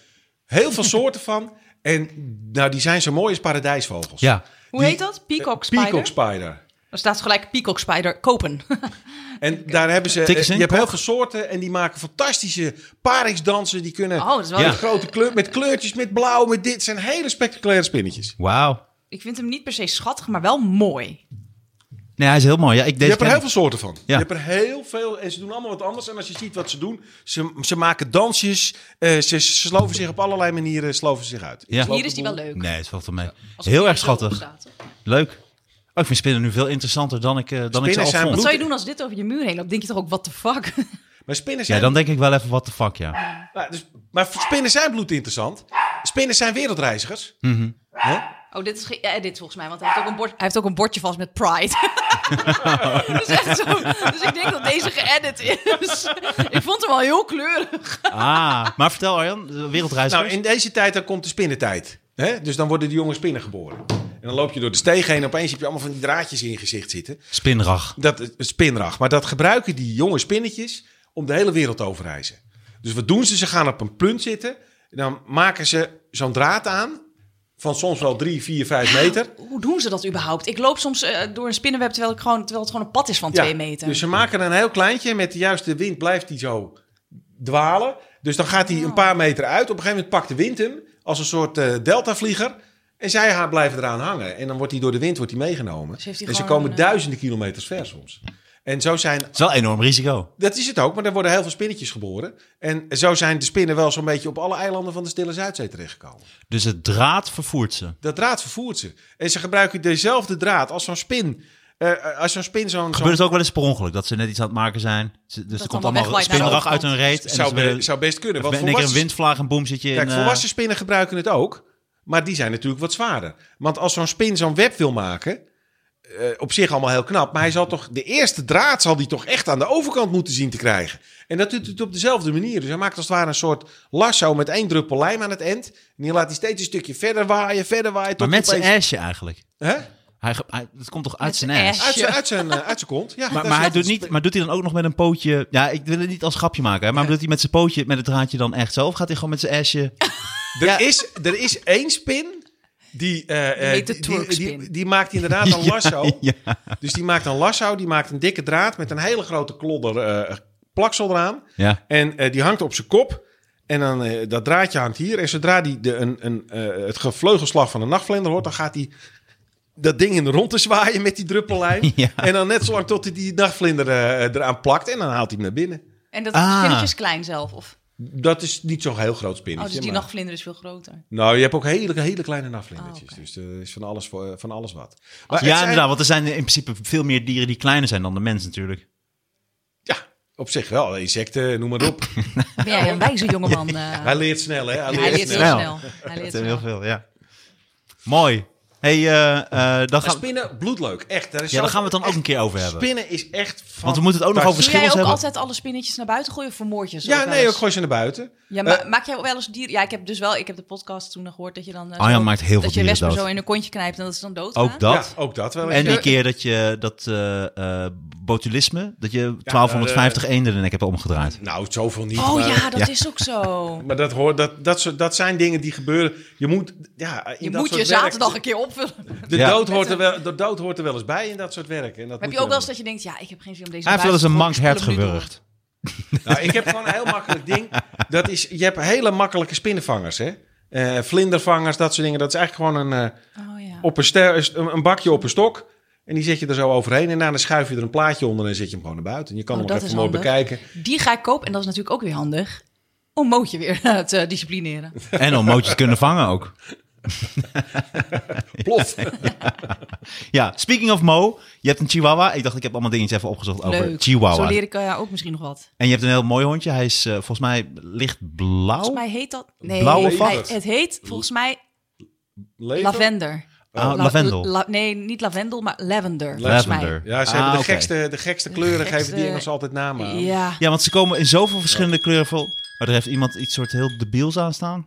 heel <laughs> veel soorten van. En nou, die zijn zo mooi als paradijsvogels. Ja. Hoe die- eh, heet dat? Peacock spider? Peacock spider. Er staat gelijk peacock spider kopen. <laughs> En daar hebben ze. eh, Tikken ze Je in? hebt heel veel soorten en die maken fantastische paringsdansen. Die kunnen Oh, dat is wel Ja. met grote kleur, met kleurtjes, met blauw, met dit. Het zijn hele spectaculaire spinnetjes. Wauw. Ik vind hem niet per se schattig, maar wel mooi. Nee, hij is heel mooi. Ja, ik Je deze hebt er ken heel ik. veel soorten van. Ja. Je hebt er heel veel en ze doen allemaal wat anders. En als je ziet wat ze doen, ze, ze maken dansjes. eh, ze sloven zich op allerlei manieren sloven zich uit. Ja. Slopen Hier is die wel boel. leuk. Nee, het valt er mee. Als Heel hij erg zo schattig. opstaat. Leuk. Oh, ik vind spinnen nu veel interessanter dan ik, eh, dan ik ze Spinnen al zijn vond. Wat zou je Bloed- doen als dit over je muur heen loopt? Denk je toch ook, what the fuck? Maar spinnen zijn, Ja, dan denk ik wel even, what the fuck, ja. nou, dus, maar spinnen zijn bloedinteressant. Spinnen zijn wereldreizigers. Hè? Oh, dit is ge- eh, dit volgens mij, want hij heeft, ook een bord, hij heeft ook een bordje vast met Pride. dat is echt zo. Dus ik denk dat deze geëdit is. ik vond hem wel heel kleurig. Ah, maar vertel Arjan, de wereldreizigers. Nou, in deze tijd dan komt de spinnentijd. Hè? Dus dan worden die jonge spinnen geboren. En dan loop je door de steeg heen en opeens heb je allemaal van die draadjes in je gezicht zitten. Spinrag. Dat is spinrag. Maar dat gebruiken die jonge spinnetjes om de hele wereld over te reizen. Dus wat doen ze? Ze gaan op een punt zitten. En dan maken ze zo'n draad aan van soms wel drie, vier, vijf meter. Hoe doen ze dat überhaupt? Ik loop soms eh, door een spinnenweb terwijl, ik gewoon, terwijl het gewoon een pad is van Ja, twee meter. Dus ze maken een heel kleintje. Met de juiste wind blijft die zo dwalen. Dus dan gaat hij Oh. een paar meter uit. Op een gegeven moment pakt de wind hem als een soort eh, deltavlieger. En zij haar blijven eraan hangen. En dan wordt hij door de wind wordt hij meegenomen. Dus heeft hij en ze gewoon komen een, eh, duizenden kilometers ver soms. En zo zijn is wel een enorm risico. dat is het ook, maar er worden heel veel spinnetjes geboren. En zo zijn de spinnen wel zo'n beetje op alle eilanden van de Stille Zuidzee terechtgekomen. Dus het draad vervoert ze. Dat draad vervoert ze. En ze gebruiken dezelfde draad als zo'n spin. eh, eh, als zo'n spin zo'n... zo'n- Gebeurt het ook wel eens per ongeluk dat ze net iets aan het maken zijn? Ze- Dus er komt allemaal allemaal wegwaait naar de spinderag uit overkant. hun reet. En zou, dus be- weer- zou best kunnen. in Want één keer een volwassen, windvlaag en boem zit je in... kijk, eh, volwassen spinnen gebruiken het ook. Maar die zijn natuurlijk wat zwaarder. Want als zo'n spin zo'n web wil maken... eh, op zich allemaal heel knap, maar hij zal toch de eerste draad zal die toch echt aan de overkant moeten zien te krijgen. En dat doet het op dezelfde manier. Dus hij maakt als het ware een soort lasso met één druppel lijm aan het eind. En die laat hij steeds een stukje verder waaien, verder waaien. maar tot met hij zijn opeens- asje eigenlijk. Hè? Hij, ge- hij- dat komt toch uit Met zijn zijn ass? ass. Uit zijn, uit zijn, eh, uit zijn kont. Ja, Maar, daar maar, hij zat doet het. niet, maar doet hij dan ook nog met een pootje... Ja, ik wil het niet als grapje maken, hè, maar doet hij met zijn pootje, met het draadje dan echt zo? Of gaat hij gewoon met zijn asje... Er, is, er is één spin. Die, eh, eh, Die heet de die, die, twerkspin. die- die maakt inderdaad <laughs> een Ja, lasso. ja. Dus die maakt een lasso, die maakt een dikke draad met een hele grote klodder eh, plaksel eraan. Ja. En eh, die hangt op zijn kop. En dan, eh, dat draadje hangt hier. En zodra die de, een, een, eh, het gevleugelslag van een nachtvlinder hoort, dan gaat hij dat ding in de rondte zwaaien met die <laughs> druppellijn. Ja. En dan net zolang tot hij die nachtvlinder eh, eraan plakt. En dan haalt hij hem naar binnen. En dat is Ah. spinnetjes klein zelf. Of, Dat is niet zo'n heel groot oh, spinnetje. dus die maar- nachtvlinder is veel groter. Nou, je hebt ook hele, hele kleine nachtvlindertjes. Oh, oké. Dus er is van alles, voor- van alles wat. Maar het ja, zijn- inderdaad, want er zijn in principe veel meer dieren die kleiner zijn dan de mens natuurlijk. Ja, op zich wel. Insecten, noem maar op. Ben jij een wijze jongeman? eh? Hij leert snel, hè? Hij leert, hij leert snel. heel snel. snel. Hij leert Dat zijn heel snel. veel, ja. Mooi. Hey, eh, eh, dan, Maar gaan, spinnen, bloedleuk. Echt. Daar is ja, dan zo- gaan we het dan ook een keer over echt- hebben. Spinnen is echt Want we moeten het ook nog fantastisch. over Doe schimmels jij ook hebben. altijd alle spinnetjes naar buiten gooien of vermoord je ze Ja, ook wel nee, eens? ook gooi ze naar buiten. Ja, maar maak jij wel eens dieren? Ja, ik heb dus wel, ik heb de podcast toen nog gehoord dat je dan. eh, Arjan zo- Oh maakt heel veel Dat je dieren wespen dood. zo in een kontje knijpt en dat ze dan dood Ook dat. Ja, ook dat wel. En eens. die Ja. keer dat je dat eh, eh, botulisme, dat je 1250 eenden de nek hebt omgedraaid. Nou, zoveel niet. Oh maar... ja, dat Ja. is ook <laughs> zo. Maar dat, hoort, dat, dat, soort- dat zijn dingen die gebeuren. Je moet, ja, in Je dat moet soort je zaterdag werk- een keer opvullen. De, Ja. dood hoort er wel, de dood hoort er wel eens bij in dat soort werk. En dat Heb moet je ook wel eens dat je denkt, ja, ik heb geen zin om deze. Hij heeft wel eens een mank buis te hert gooien, ik speel hem nu gewurgd. Nou, ik heb gewoon een heel makkelijk ding. Dat is, je hebt hele makkelijke spinnenvangers, hè? Eh, vlindervangers, dat soort dingen. Dat is eigenlijk gewoon een, eh, door. Oh ja. op een, ster, een een bakje op een stok. En die zet je er zo overheen. En daarna schuif je er een plaatje onder en zet je hem gewoon naar buiten. En je kan Oh, hem dat nog even is mooi handig. bekijken. Die ga ik kopen en dat is natuurlijk ook weer handig om Mootje weer <laughs> te disciplineren. En om mootjes te kunnen vangen ook. <laughs> Plof. Ja, speaking of Mo, je hebt een chihuahua. Ik dacht, ik heb allemaal dingetjes even opgezocht over Leuk. Zo chihuahua. leer ik eh, ook misschien nog wat. En je hebt een heel mooi hondje. Hij is eh, volgens mij lichtblauw. Oh. Volgens mij heet dat... Nee, Blauwe hij- vacht. het heet volgens mij Lever? lavender. Ah, La- lavendel. la- nee, niet lavendel, maar lavender. volgens mij. Lavender. Ja, ze Ah, hebben de, oké. gekste, de gekste kleuren, geven die gekste- Engels altijd namen aan. Ja. Ja, want ze komen in zoveel verschillende kleuren voor. Maar er heeft iemand iets soort heel debiels aan staan.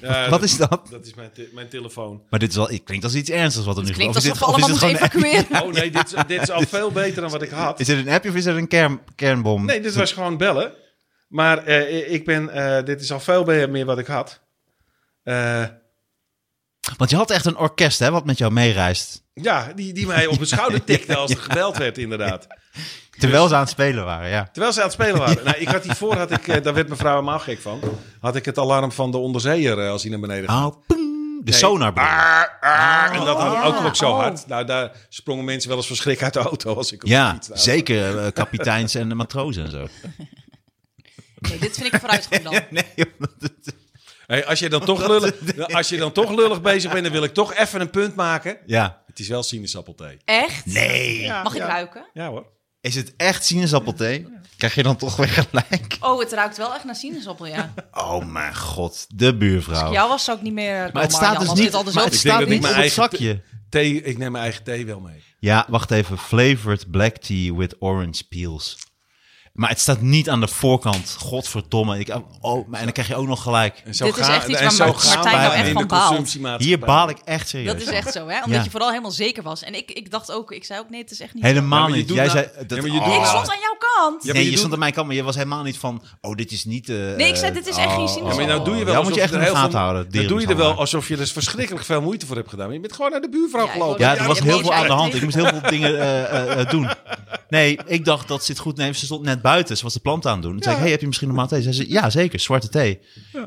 Ja, Wat dat, is dat? dat is mijn, te- mijn telefoon. Maar dit is wel, het klinkt als iets ernstigs wat er nu Het gebeurt. Of klinkt is alsof dit- we of is allemaal dit moeten gewoon een- evacueren. Oh nee, dit, is- dit is al veel beter dan wat ik had. Is dit een appje of is dit een kern, kernbom? Nee, dit was gewoon bellen. Maar eh, ik ben, eh, dit is al veel meer wat ik had. Eh, Want je had echt een orkest hè, wat met jou meereist. ja, die, die mij op mijn <laughs> schouder tikte als er gebeld werd, inderdaad. Terwijl ze aan het spelen waren, ja. Terwijl ze aan het spelen waren. Nou, ik had hiervoor, had ik, eh, daar werd mevrouw helemaal gek van, had ik het alarm van de onderzeeër eh, als hij naar beneden ging. Oh, poeng. De sonar. Ah, en dat had Oh. ook nog zo Oh. hard. Nou, daar sprongen mensen wel eens van schrik uit de auto als ik op de Ja, fiets nou. zeker eh, kapiteins en matrozen en zo. Nee, dit vind ik vooruitgang dan. <laughs> Nee, omdat het- Hey, als, je dan toch lullig, nou, als je dan toch lullig bezig bent, dan wil ik toch even een punt maken. ja. Het is wel sinaasappelthee. Echt? Nee. Mag ik ja. ruiken? Ja hoor. Is het echt sinaasappelthee? Krijg je dan toch weer gelijk? Oh, het ruikt wel echt naar sinaasappel, ja. Oh mijn god, de Als buurvrouw. ik jou was, zou ik niet meer eh, Oh. Maar komen, het staat Arjan, dus als niet, dit al dus maar ook- het Ik denk staat dat ik niet op mijn het eigen zakje. Thee, ik neem mijn eigen thee wel mee. Ja, wacht even. Flavored black tea with orange peels. Maar het staat niet aan de voorkant. Godverdomme. Ik, oh, maar- en dan krijg je ook nog gelijk. En Dit is ga- echt iets en waar zo Mart- gaan Martijn wij nou echt in van de baalt. consumptiemaatschappij. Hier baal ik echt serieus. Dat is echt zo, hè? Omdat Ja. je vooral helemaal zeker was. En ik, ik dacht ook, ik zei ook nee, het is echt niet Helemaal Ja, maar je niet. doet Jij nou- zei... Ja, dat- maar je doet oh. zo. Ik nou- stond aan jouw kant. Ja, nee, maar je je, doet- stond aan mijn kant, maar je was helemaal niet van... Oh, dit is niet... eh, Nee, ik zei, dit is echt geen sinaasappel. Ja, maar nou doe je wel Ja, alsof moet je echt in er de heel gaten veel- houden, Dan doe je er wel dierenmishandelaar. alsof je er verschrikkelijk veel moeite voor hebt gedaan. Maar je bent gewoon naar de buurvrouw Ja, ik gelopen. Ja, Ja, er je was hebt heel niet veel aan de echt hand. even- Ik moest heel veel dingen eh, eh, eh, doen. Nee, ik dacht dat zit goed. Nee, ze stond net buiten. Ze was de plant aan het doen. Toen zei ik, hey, heb je misschien normaal thee? Zei ze, ja, zeker, zwarte thee.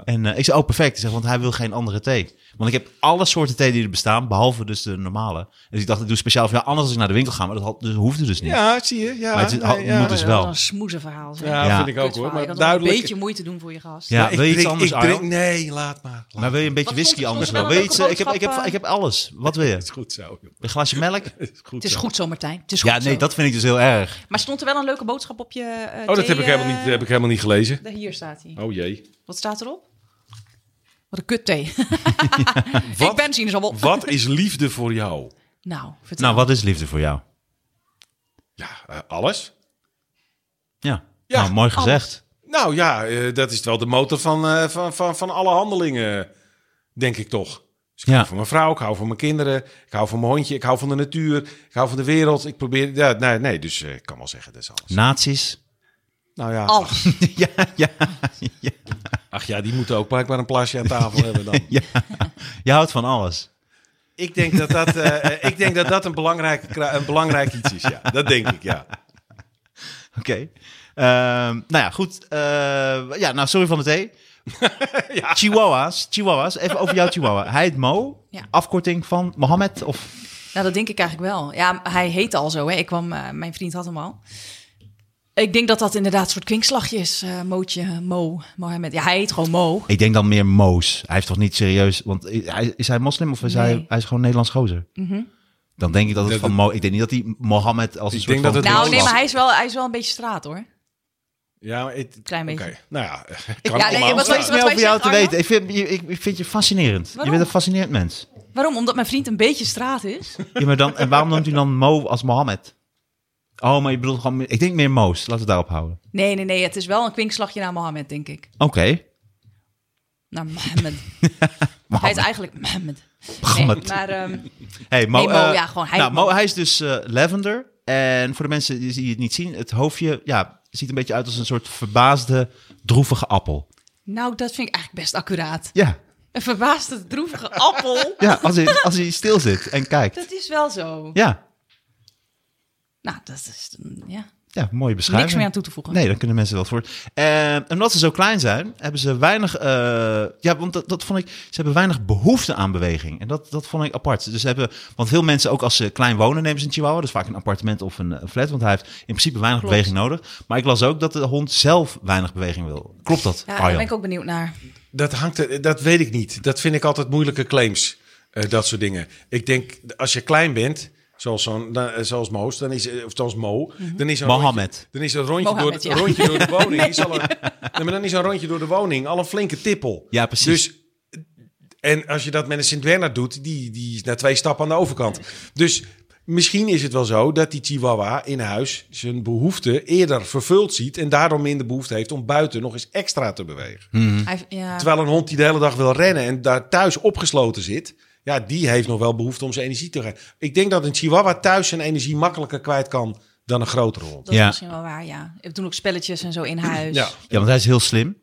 En eh, ik zei, oh, perfect. Ik zei, want hij wil geen andere thee. Want ik heb alle soorten thee die er bestaan, behalve dus de normale. Dus ik dacht, ik doe speciaal voor jou, anders als ik naar de winkel ga. Maar dat had, dus, hoefde dus niet. Ja, zie je. Ja, Maar het is- had- nee, ja. moet dus wel. een smoezenverhaal. zeg. oh, Ja, Ja. vind ik ook Kutverhaal. hoor. Je Maar had wel duidelijk. een beetje moeite doen voor je gast. Ja, ik wil je iets drink- anders, ik drink, Arjan? Nee, laat maar. Laat Maar wil je een beetje Wat whisky vond- anders vond wel? je Wil je wel iets, een eh, ik, heb, ik, heb, boodschap, ik heb alles. Wat wil je? <laughs> is goed zo. joh. Een glasje melk? Het is goed Het is zo. Oh, goed zo, Martijn. Het is Ja, goed nee, zo. dat vind ik dus heel erg. Maar stond er wel een leuke boodschap op je eh, Oh, dat thee, heb ik helemaal eh, niet, heb ik helemaal niet gelezen. daar- Hier staat hij. Oh jee. Wat staat erop? Wat een <laughs> kut thee. ik ben sinaasappel. Wat is liefde voor jou? Nou, vertel. Nou, wat is liefde voor jou? Ja, eh, alles. Ja, Ja, nou, mooi gezegd. Nou ja, eh, dat is wel de motor van, eh, van, van, van alle handelingen, denk ik toch. Dus ik Ja. hou van mijn vrouw, ik hou van mijn kinderen, ik hou van mijn hondje, ik hou van de natuur, ik hou van de wereld. Ik probeer, ja, nee, nee, dus eh, ik kan wel zeggen, dat is alles. Nazi's. Nou ja, Alles. ja, ja, ja. ach ja, die moeten ook blijkbaar een plasje aan tafel <laughs> hebben dan. Je houdt van alles. Ik denk dat dat, <laughs> eh, eh, ik denk dat, dat een, belangrijk, kra- een belangrijk iets is, ja. Dat denk ik, ja. Oké. Ehm, nou ja, goed. Eh, ja, nou, sorry van de thee. <laughs> Ja. Chihuahuas, Chihuahuas. Even over jouw Chihuahua. Hij heet Mo. Ja. Afkorting van Mohammed of... Nou, dat denk ik eigenlijk wel. Ja, hij heette al zo. Hè. Ik kwam, eh, mijn vriend had hem al. Ik denk dat dat inderdaad een soort kwinkslagje is. eh, Mootje, Mo, Mohammed. Ja, hij heet gewoon Mo. Ik denk dan meer Moos. Hij heeft toch niet serieus... Want hij, is hij moslim of is Nee. Mhm. hij, hij is gewoon Nederlands gozer? Dan denk ik dat het Dat- van Mo... Ik denk niet dat hij Mohammed als een Ik soort denk van... dat het Nou, wel nee, lastig. maar hij is, wel, hij is wel een beetje straat, hoor. ja maar het- Klein beetje. oké. Nou ja, <laughs> eh, kan nee, allemaal wat- staan. Niks wat meer wij over jou te zeggen, weten. Ik vind, je- ik, ik vind je fascinerend. Waarom? Je bent een fascinerend mens. Waarom? Omdat mijn vriend een beetje straat is? Ja, maar dan, en waarom noemt u dan Mo als Mohammed? Oh, maar je bedoelt gewoon... Ik denk meer Moos. Laten we het daarop houden. Nee, nee, nee. Het is wel een kwinkslagje naar Mohammed, denk ik. Oké. Naar Mohammed. hij Mohammed. is eigenlijk Mohammed. Mohammed. Nee, maar ehm, Hey, Mo, Nee, Mo, eh, ja, gewoon hij- nou, Mo, Mo. hij is dus eh, lavender. En voor de mensen die die het niet zien, het hoofdje ja, ziet een beetje uit als een soort verbaasde, droevige appel. nou, dat vind ik eigenlijk best accuraat. Ja, Een verbaasde, droevige appel. ja als, hij, als hij stil zit en kijkt. Dat is wel zo. Ja, Nou, dat is... mm, Ja. ja mooie beschrijving. Niks meer aan toe te voegen. Nee, dan kunnen mensen wel voor. Ehm, En omdat ze zo klein zijn, hebben ze weinig. eh, ja, want dat, dat vond ik. Ze hebben weinig behoefte aan beweging. En dat, dat vond ik apart. Dus ze hebben, want veel mensen, ook als ze klein wonen, nemen ze een Chihuahua. Dus vaak een appartement of een eh, flat. Want hij heeft in principe weinig Klopt. beweging nodig. Maar ik las ook dat de hond zelf weinig beweging wil. Klopt dat? Ja, daar Arjan? ben ik ook benieuwd naar. Dat, hangt, er- dat weet ik niet. Dat vind ik altijd moeilijke claims. eh, dat soort dingen. Ik denk, als je klein bent, zoals, zo'n, dan, eh, zoals Moos, dan is, eh, of zoals Mo, dan is een Mohammed. rondje- dan is een rondje, Mohammed, door, ja. rondje <laughs> door de woning. Is al een, Nee, maar dan is een rondje door de woning al een flinke tippel. Ja, precies. Dus, en als je dat met een sint bernard doet, die, die is na twee stappen aan de overkant. Dus misschien is het wel zo dat die chihuahua in huis zijn behoefte eerder vervuld ziet... en daardoor minder behoefte heeft om buiten nog eens extra te bewegen. Hij, ja. Terwijl een hond die de hele dag wil rennen en daar thuis opgesloten zit, ja, die heeft nog wel behoefte om zijn energie te gaan. Ik denk dat een chihuahua thuis zijn energie makkelijker kwijt kan dan een grotere hond. Dat is Ja. misschien wel waar, ja. We doen ook spelletjes en zo in huis. Ja. Ja. Ja, want hij is heel slim.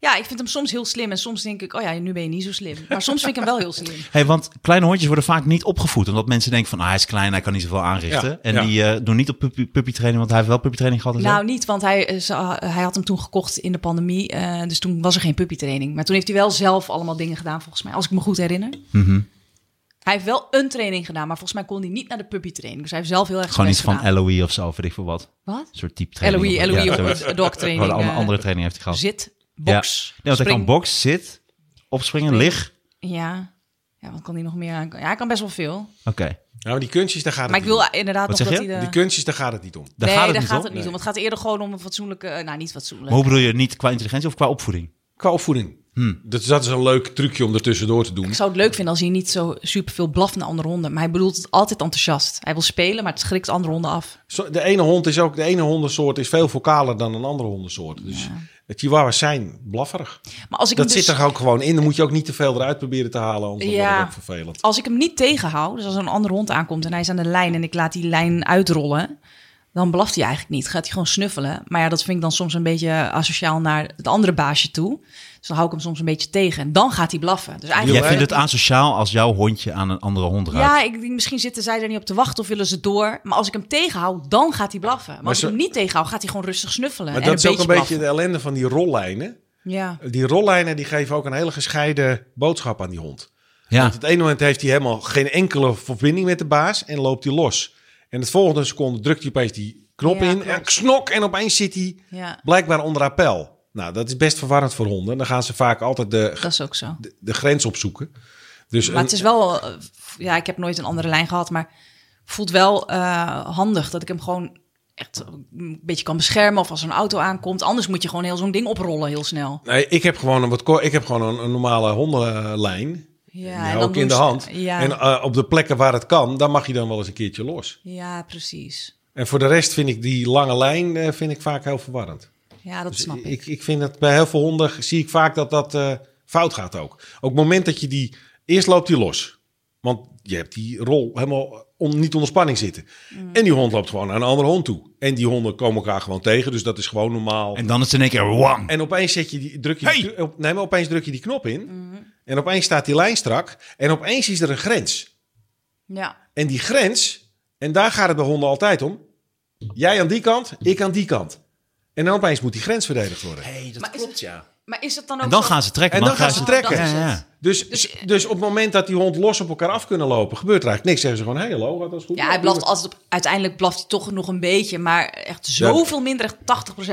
ik vind hem soms heel slim. En soms denk ik, oh ja, nu ben je niet zo slim. Maar soms vind ik hem wel heel slim. Hey, want kleine hondjes worden vaak niet opgevoed. Omdat mensen denken van, ah, hij is klein, hij kan niet zoveel aanrichten. Ja, en ja. die eh, doen niet op puppy, puppytraining, want hij heeft wel puppytraining gehad. En zo. Nou, niet, want hij, eh, ze- hij had hem toen gekocht in de pandemie. eh, dus toen was er geen puppytraining. Maar toen heeft hij wel zelf allemaal dingen gedaan, volgens mij. Als ik me goed herinner. Mhm. Hij heeft wel een training gedaan, maar volgens mij kon hij niet naar de puppytraining. Dus hij heeft zelf heel erg Gewoon zijn iets van best LOE of zo, weet ik veel wat. gedaan. Wat? Een soort type training. LOE, LOE, Ja, E of zoiets. een dog Gewoon training. een eh, andere training heeft hij gehad. Zit, Ja. box, Nee, want hij kan spring. box, zit, opspringen, Spring. lig. Ja. ja, wat kan hij nog meer aan? Ja, hij kan best wel veel. Oké, Nou, die kunstjes, daar gaat het Maar ik niet wil eh, inderdaad Wat nog zeg dat je? hij de... om. Die kunstjes, daar gaat het niet om. daar nee, gaat het daar niet gaat om. het niet om. Het gaat eerder gewoon om een fatsoenlijke... eh, Nou, niet fatsoenlijk. Maar hoe bedoel je, niet qua intelligentie of qua opvoeding? Qua opvoeding. Dus dat is een leuk trucje om er tussendoor te doen. Ik zou het leuk vinden als hij niet zo super veel blaft naar andere honden. Maar hij bedoelt het altijd enthousiast. Hij wil spelen, maar het schrikt andere honden af. Zo- De ene hond is ook, de ene hondensoort is veel vocaler dan een andere hondensoort. Dus de chihuahua's zijn blafferig. Maar als ik Dat hem dus, zit er ook gewoon in. Dan moet je ook niet te veel eruit proberen te halen, anders dan Ja. wordt het ook vervelend. Als ik hem niet tegenhoud, dus als er een andere hond aankomt en hij is aan de lijn en ik laat die lijn uitrollen, dan blaft hij eigenlijk niet. Gaat hij gewoon snuffelen. Maar ja, dat vind ik dan soms een beetje asociaal naar het andere baasje toe. Dus dan hou ik hem soms een beetje tegen. En dan gaat hij blaffen. Dus eigenlijk Jij vindt het asociaal als jouw hondje aan een andere hond ruikt. ja, ik denk misschien zitten zij er niet op te wachten of willen ze door. Maar als ik hem tegenhoud, dan gaat hij blaffen. Maar, als zo- ik hem niet tegenhoud, gaat hij gewoon rustig snuffelen. Maar en dat is ook een beetje de blaffen. ellende van die rollijnen. Ja. Die rollijnen die geven ook een hele gescheiden boodschap aan die hond. Ja. Want het ene moment heeft hij helemaal geen enkele verbinding met de baas en loopt hij los. En het volgende seconde drukt hij opeens die knop Ja, in. klopt. En snok en opeens zit hij ja, blijkbaar onder appel. Nou, dat is best verwarrend voor honden. Dan gaan ze vaak altijd de, dat is ook zo. de, de grens opzoeken. Dus Maar een- het is wel, eh, f- ja, ik heb nooit een andere lijn gehad, maar voelt wel eh, handig dat ik hem gewoon echt een beetje kan beschermen. Of als er een auto aankomt, anders moet je gewoon heel zo'n ding oprollen heel snel. Nee, ik heb gewoon een, wat, ko- ik heb gewoon een, een normale hondenlijn. Ja, Ja, en dan ook doen in de ze- hand. Ja, En eh, op de plekken waar het kan, dan mag je dan wel eens een keertje los. ja precies. En voor de rest vind ik die lange lijn eh, vind ik vaak heel verwarrend. Ja, dat Dus snap ik. ik, ik vind dat bij heel veel honden zie ik vaak dat dat eh, fout gaat ook. Ook het moment dat je die... Eerst loopt die los. Want je hebt die rol helemaal on- niet onder spanning zitten. Mm. En die hond loopt gewoon naar een andere hond toe. En die honden komen elkaar gewoon tegen. Dus dat is gewoon normaal. En dan is het in één keer wang. En opeens zet je die, druk je Hey! die, op- nee, maar opeens druk je die knop in. Mm-hmm. En opeens staat die lijn strak. En opeens is er een grens. Ja, En die grens, en daar gaat het bij honden altijd om. Jij aan die kant, ik aan die kant. En dan opeens moet die grens verdedigd worden. dat Maar is klopt, het- ja. maar is het dan ook En dan zo- gaan ze trekken. En dan gaan ze trekken. dat is Ja, het. ja. Dus, dus, op het moment dat die hond los op elkaar af kunnen lopen, gebeurt er eigenlijk niks. Zeggen ze gewoon, hey, hallo, dat is goed. Ja, hij blaft altijd op. Uiteindelijk blaft hij toch nog een beetje, maar echt zoveel minder, echt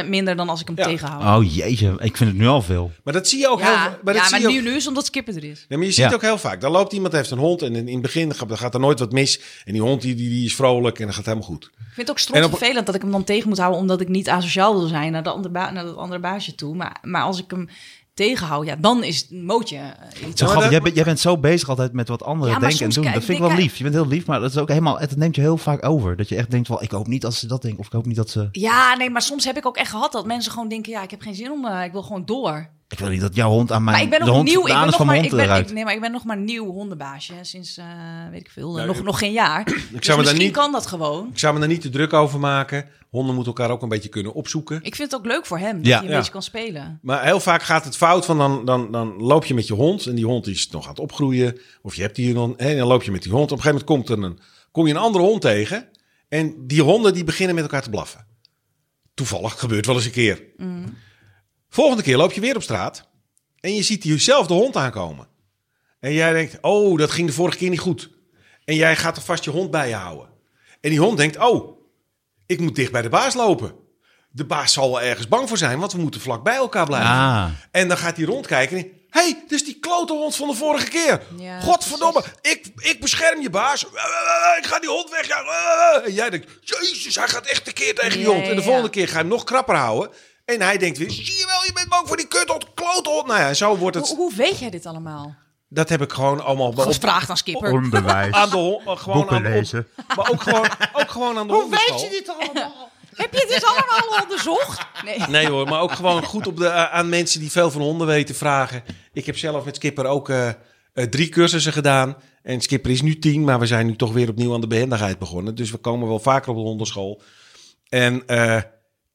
80% minder dan als ik hem Ja. tegenhoud. Oh jeetje, ik vind het nu al veel. Maar dat zie je ook heel ja, veel- Maar dat ja, zie maar je ook- nu, nu is omdat Skipper er is. Nee, maar je ziet Ja. ook heel vaak. Dan loopt iemand, heeft een hond en in in het begin gaat- gaat er nooit wat mis. En die hond die, die, die is vrolijk en dat gaat helemaal goed. Ik vind het ook En op- stront vervelend dat ik hem dan tegen moet houden... omdat ik niet asociaal wil zijn naar, de andere ba- naar dat andere baasje toe. Maar, maar als ik hem tegenhoud, ja, dan is het een mootje. eh, iets. Zo maar grappig, dat- jij, bent, jij bent zo bezig altijd met wat anderen Ja, maar denken en soms doen. kijk- Dat vind ik denk wel ik- lief. Je bent heel lief, maar dat is ook helemaal, het neemt je heel vaak over. Dat je echt denkt wel, ik hoop niet dat ze dat denken. Of ik hoop niet dat ze, Ja, nee, maar soms heb ik ook echt gehad dat mensen gewoon denken... ja, ik heb geen zin om, eh, ik wil gewoon door. ik wil niet dat jouw hond aan mij, Maar ik ben de nog hond, nieuw. de Ik ben anus nog van maar, mijn ik hond ben, eruit. ik, nee, maar ik ben nog maar een nieuw hondenbaasje. hè, Sinds, eh, weet ik veel, eh, Nou, nog, ik- nog geen jaar. Ik me daar misschien niet- kan dat gewoon. Ik zou me daar niet te druk over maken. Honden moeten elkaar ook een beetje kunnen opzoeken. Ik vind het ook leuk voor hem, dat Ja. hij een Ja. beetje kan spelen. Maar heel vaak gaat het fout van dan, dan, dan loop je met je hond en die hond is nog aan het opgroeien. Of je hebt die dan en dan loop je met die hond. Op een gegeven moment komt er een, kom je een andere hond tegen en die honden die beginnen met elkaar te blaffen. Toevallig gebeurt wel eens een keer. Volgende keer loop je weer op straat en je ziet diezelfde hond aankomen. En jij denkt, oh, dat ging de vorige keer niet goed. En jij gaat er vast je hond bij je houden. En die hond denkt, oh, ik moet dicht bij de baas lopen. De baas zal wel ergens bang voor zijn, want we moeten vlak bij elkaar blijven. Ah. En dan gaat hij rondkijken. Hé, hey, dus die klote hond van de vorige keer. Ja, Godverdomme, ik, ik bescherm je baas. Ik ga die hond wegjagen. En jij denkt, jezus, hij gaat echt tekeer tegen die Ja, hond. En de ja, volgende ja. keer ga je hem nog krapper houden. En hij denkt weer, zie je wel, je bent bang voor die kuthond, klote hond. Nou ja, zo wordt Hoe, het. hoe weet jij dit allemaal? Dat heb ik gewoon allemaal Gewoon op, vraag dan Skipper. Onbewijs. aan de hond. Gewoon aan de hond. Maar ook gewoon, ook gewoon aan de hond. dit allemaal? Heb je het <laughs> dus allemaal onderzocht? Nee. Nee hoor, maar ook gewoon goed op de, eh, aan mensen die veel van honden weten vragen. Ik heb zelf met Skipper ook eh, eh, drie cursussen gedaan. En Skipper is nu tien, maar we zijn nu toch weer opnieuw aan de behendigheid begonnen. Dus we komen wel vaker op de hondenschool. En eh,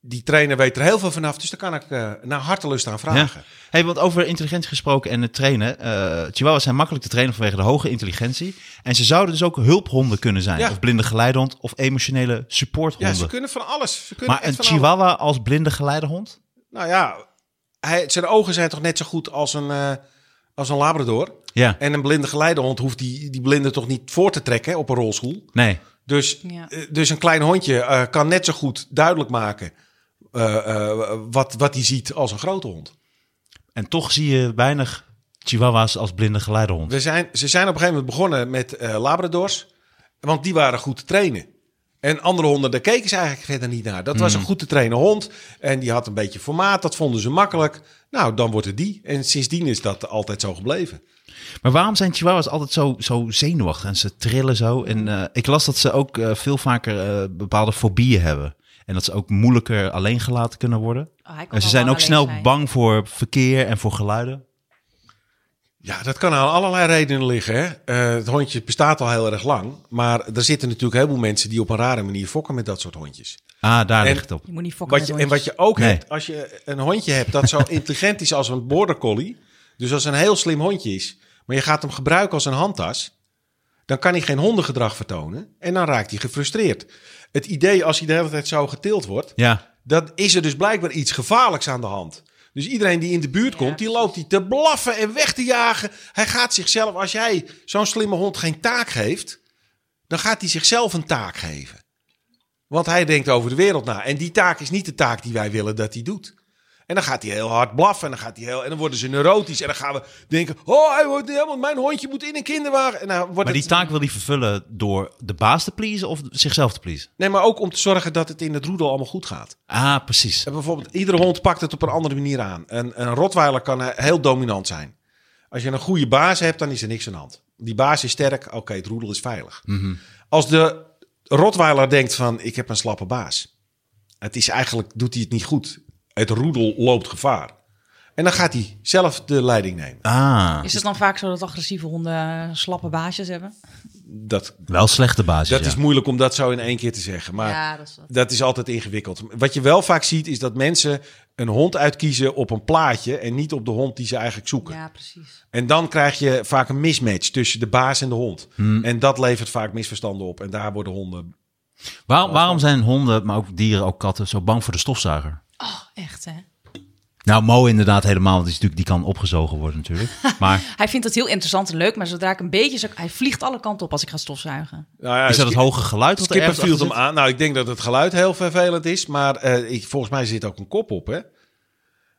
die trainer weet er heel veel vanaf, dus daar kan ik eh, naar hartelust aan vragen. Hey, want over intelligentie gesproken en het trainen. eh chihuahuas zijn makkelijk te trainen vanwege de hoge intelligentie. En ze zouden dus ook hulphonden kunnen zijn. Ja. Of blinde geleidehond of emotionele Ja, supporthonden. ze kunnen van alles. Ze kunnen maar een echt van alles. chihuahua als blinde geleidehond? Nou ja, hij, zijn ogen zijn toch net zo goed als een, eh, als een labrador. Ja, En een blinde geleidehond hoeft die, die blinde toch niet voor te trekken op een rolschool. nee. Dus, Ja. eh, dus een klein hondje eh, kan net zo goed duidelijk maken eh, eh, wat, wat hij ziet als een grote hond. En toch zie je weinig chihuahuas als blinde geleidehond. We zijn, ze zijn op een gegeven moment begonnen met eh, labradors, want die waren goed te trainen. En andere honden, daar keken ze eigenlijk verder niet naar. Dat was een goed te trainen hond en die had een beetje formaat, dat vonden ze makkelijk. Nou, dan wordt het die. En sindsdien is dat altijd zo gebleven. Maar waarom zijn chihuahuas altijd zo, zo zenuwachtig en ze trillen zo? En eh, ik las dat ze ook eh, veel vaker eh, bepaalde fobieën hebben. En dat ze ook moeilijker alleen gelaten kunnen worden. Oh, hij kan En ze wel zijn lang ook alleen snel zijn. bang voor verkeer en voor geluiden. Ja, dat kan aan allerlei redenen liggen. Hè? Eh, het hondje bestaat al heel erg lang. Maar er zitten natuurlijk heel veel mensen die op een rare manier fokken met dat soort hondjes. Ah, daar En- ligt het op. Je moet niet fokken Wat je, met en wat hondjes. je ook Nee. hebt, als je een hondje hebt dat zo intelligent is als een border collie. Dus als een heel slim hondje is, maar je gaat hem gebruiken als een handtas. Dan kan hij geen hondengedrag vertonen en dan raakt hij gefrustreerd. Het idee als hij de hele tijd zo getild wordt, Ja. dat is er dus blijkbaar iets gevaarlijks aan de hand. Dus iedereen die in de buurt komt, die loopt die te blaffen en weg te jagen. Hij gaat zichzelf, als jij zo'n slimme hond geen taak geeft, dan gaat hij zichzelf een taak geven. Want hij denkt over de wereld na. En die taak is niet de taak die wij willen dat hij doet. En dan gaat hij heel hard blaffen en dan, gaat hij heel, en dan worden ze neurotisch. En dan gaan we denken, oh, hij wordt, want mijn hondje moet in een kinderwagen. En dan wordt Maar die het- taak wil hij vervullen door de baas te pleasen of zichzelf te pleasen? Nee, maar ook om te zorgen dat het in het roedel allemaal goed gaat. Ah, precies. En bijvoorbeeld, iedere hond pakt het op een andere manier aan. Een, een Rottweiler kan eh, heel dominant zijn. Als je een goede baas hebt, dan is er niks aan de hand. Die baas is sterk, oké, het roedel is veilig. Als de Rottweiler denkt van, ik heb een slappe baas. Het is eigenlijk, doet hij het niet goed. Het roedel loopt gevaar. En dan gaat hij zelf de leiding nemen. Ah, Is het dan vaak zo dat agressieve honden eh, slappe baasjes hebben? Dat, wel slechte basis. dat ja. is moeilijk om dat zo in één keer te zeggen. Maar dat is wat. Dat is altijd ingewikkeld. Wat je wel vaak ziet, is dat mensen een hond uitkiezen op een plaatje en niet op de hond die ze eigenlijk zoeken. Ja, precies. En dan krijg je vaak een mismatch tussen de baas en de hond. Hmm. En dat levert vaak misverstanden op. En daar worden honden. Waarom, waarom zijn honden, maar ook dieren, ook katten, zo bang voor de stofzuiger? Oh, echt hè? Nou, Mo inderdaad helemaal, want die, is natuurlijk, die kan opgezogen worden <laughs> natuurlijk. Maar Hij vindt dat heel interessant en leuk, maar zodra ik een beetje... zo- Hij vliegt alle kanten op als ik ga stofzuigen. Nou ja, is dat het hoge geluid dat er ergens Skipper viel achter hem zit? aan. Nou, ik denk dat het geluid heel vervelend is. Maar eh, ik, volgens mij zit ook een kop op. Hè?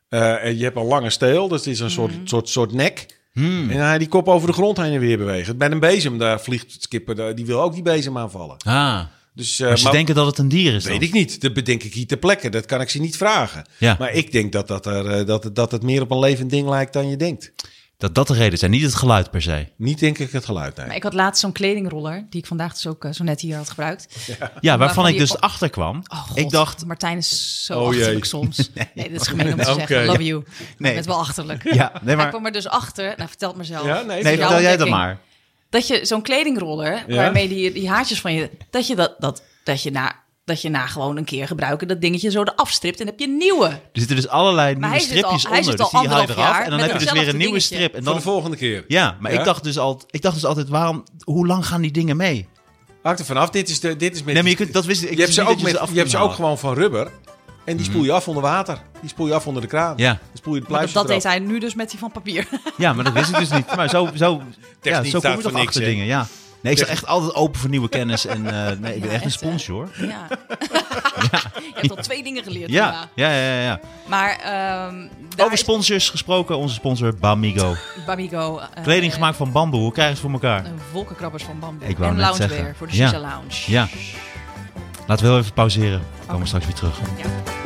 Eh, en je hebt een lange steel, dus het is een soort, soort, soort nek. Hmm. En hij die kop over de grond heen en weer bewegen. Bij een bezem, daar vliegt Skipper, daar- die wil ook die bezem aanvallen. Ah, Dus, eh, maar ze maar- denken dat het een dier is Dat dan? weet ik niet. Dat bedenk ik hier ter plekke. Dat kan ik ze niet vragen. Ja. Maar ik denk dat, dat, er, eh, dat, dat het meer op een levend ding lijkt dan je denkt. Dat dat de reden zijn, niet het geluid per se. Niet denk ik het geluid. Nee. Maar ik had laatst zo'n kledingroller, die ik vandaag dus ook eh, zo net hier had gebruikt. Ja, waarvan Waarvan ik die- dus achter kwam. Oh, God, ik dacht, Martijn is zo Oh, jee. achterlijk soms. Nee, dat is gemeen om te Oké. zeggen. Love you. Nee. Nee. Je bent wel achterlijk. ja, nee Hij maar, kwam er dus achter, nou vertel het maar zelf. Ja, nee, nee, jouw vertel jij dan ontdekking. maar. Dat je zo'n kledingroller, Ja. waarmee die, die haartjes van je... Dat je, dat, dat, dat, je na, dat je na gewoon een keer gebruiken dat dingetje zo eraf stript en heb je een nieuwe. Er zitten dus allerlei Maar nieuwe hij zit al- stripjes hij onder, zit dus al die haal je anderhalf eraf jaar en dan met heb je dus weer een hetzelfde nieuwe dingetje. strip. En Voor dan, de volgende keer. ja, maar Ja? Ik, dacht dus al, ik dacht dus altijd, waarom, hoe lang gaan die dingen mee? Haak er vanaf. Dit is, de, dit is met Nee, maar je kunt, dat wist ik. je hebt dus ze niet ook, dat met, je af je hebt ze kunt ook gewoon van rubber. En die spoel je af onder water. Die spoel je af onder de kraan. Mhm. Ja. Dan spoel je de Maar dat, pluisjes dat deed eraf. hij nu dus met die van papier. <laughs> halen. Ja, maar dat wist ik dus niet. Maar zo, zo, ja, Techniek zo kom staat je voor toch niks, achter hè? dingen, ja. Nee, ik sta Techniek. echt altijd open voor nieuwe kennis. En eh, nee, ik ben echt een Ja, echt, hè? spons, hoor. Ja. Je hebt al twee dingen geleerd. Ja, vandaag. ja, ja, ja. ja. Maar ehm daar Over sponsors gesproken, onze sponsor Bamigo. is Bamigo. eh, Kleding gemaakt van bamboe, hoe krijgen ze het voor elkaar? eh, wolkenkrabbers van bamboe. Ik wou en net loungewear zeggen. voor de Ja. Shisha Lounge. Ja. Laten we heel even pauzeren. We komen straks weer terug. Ja.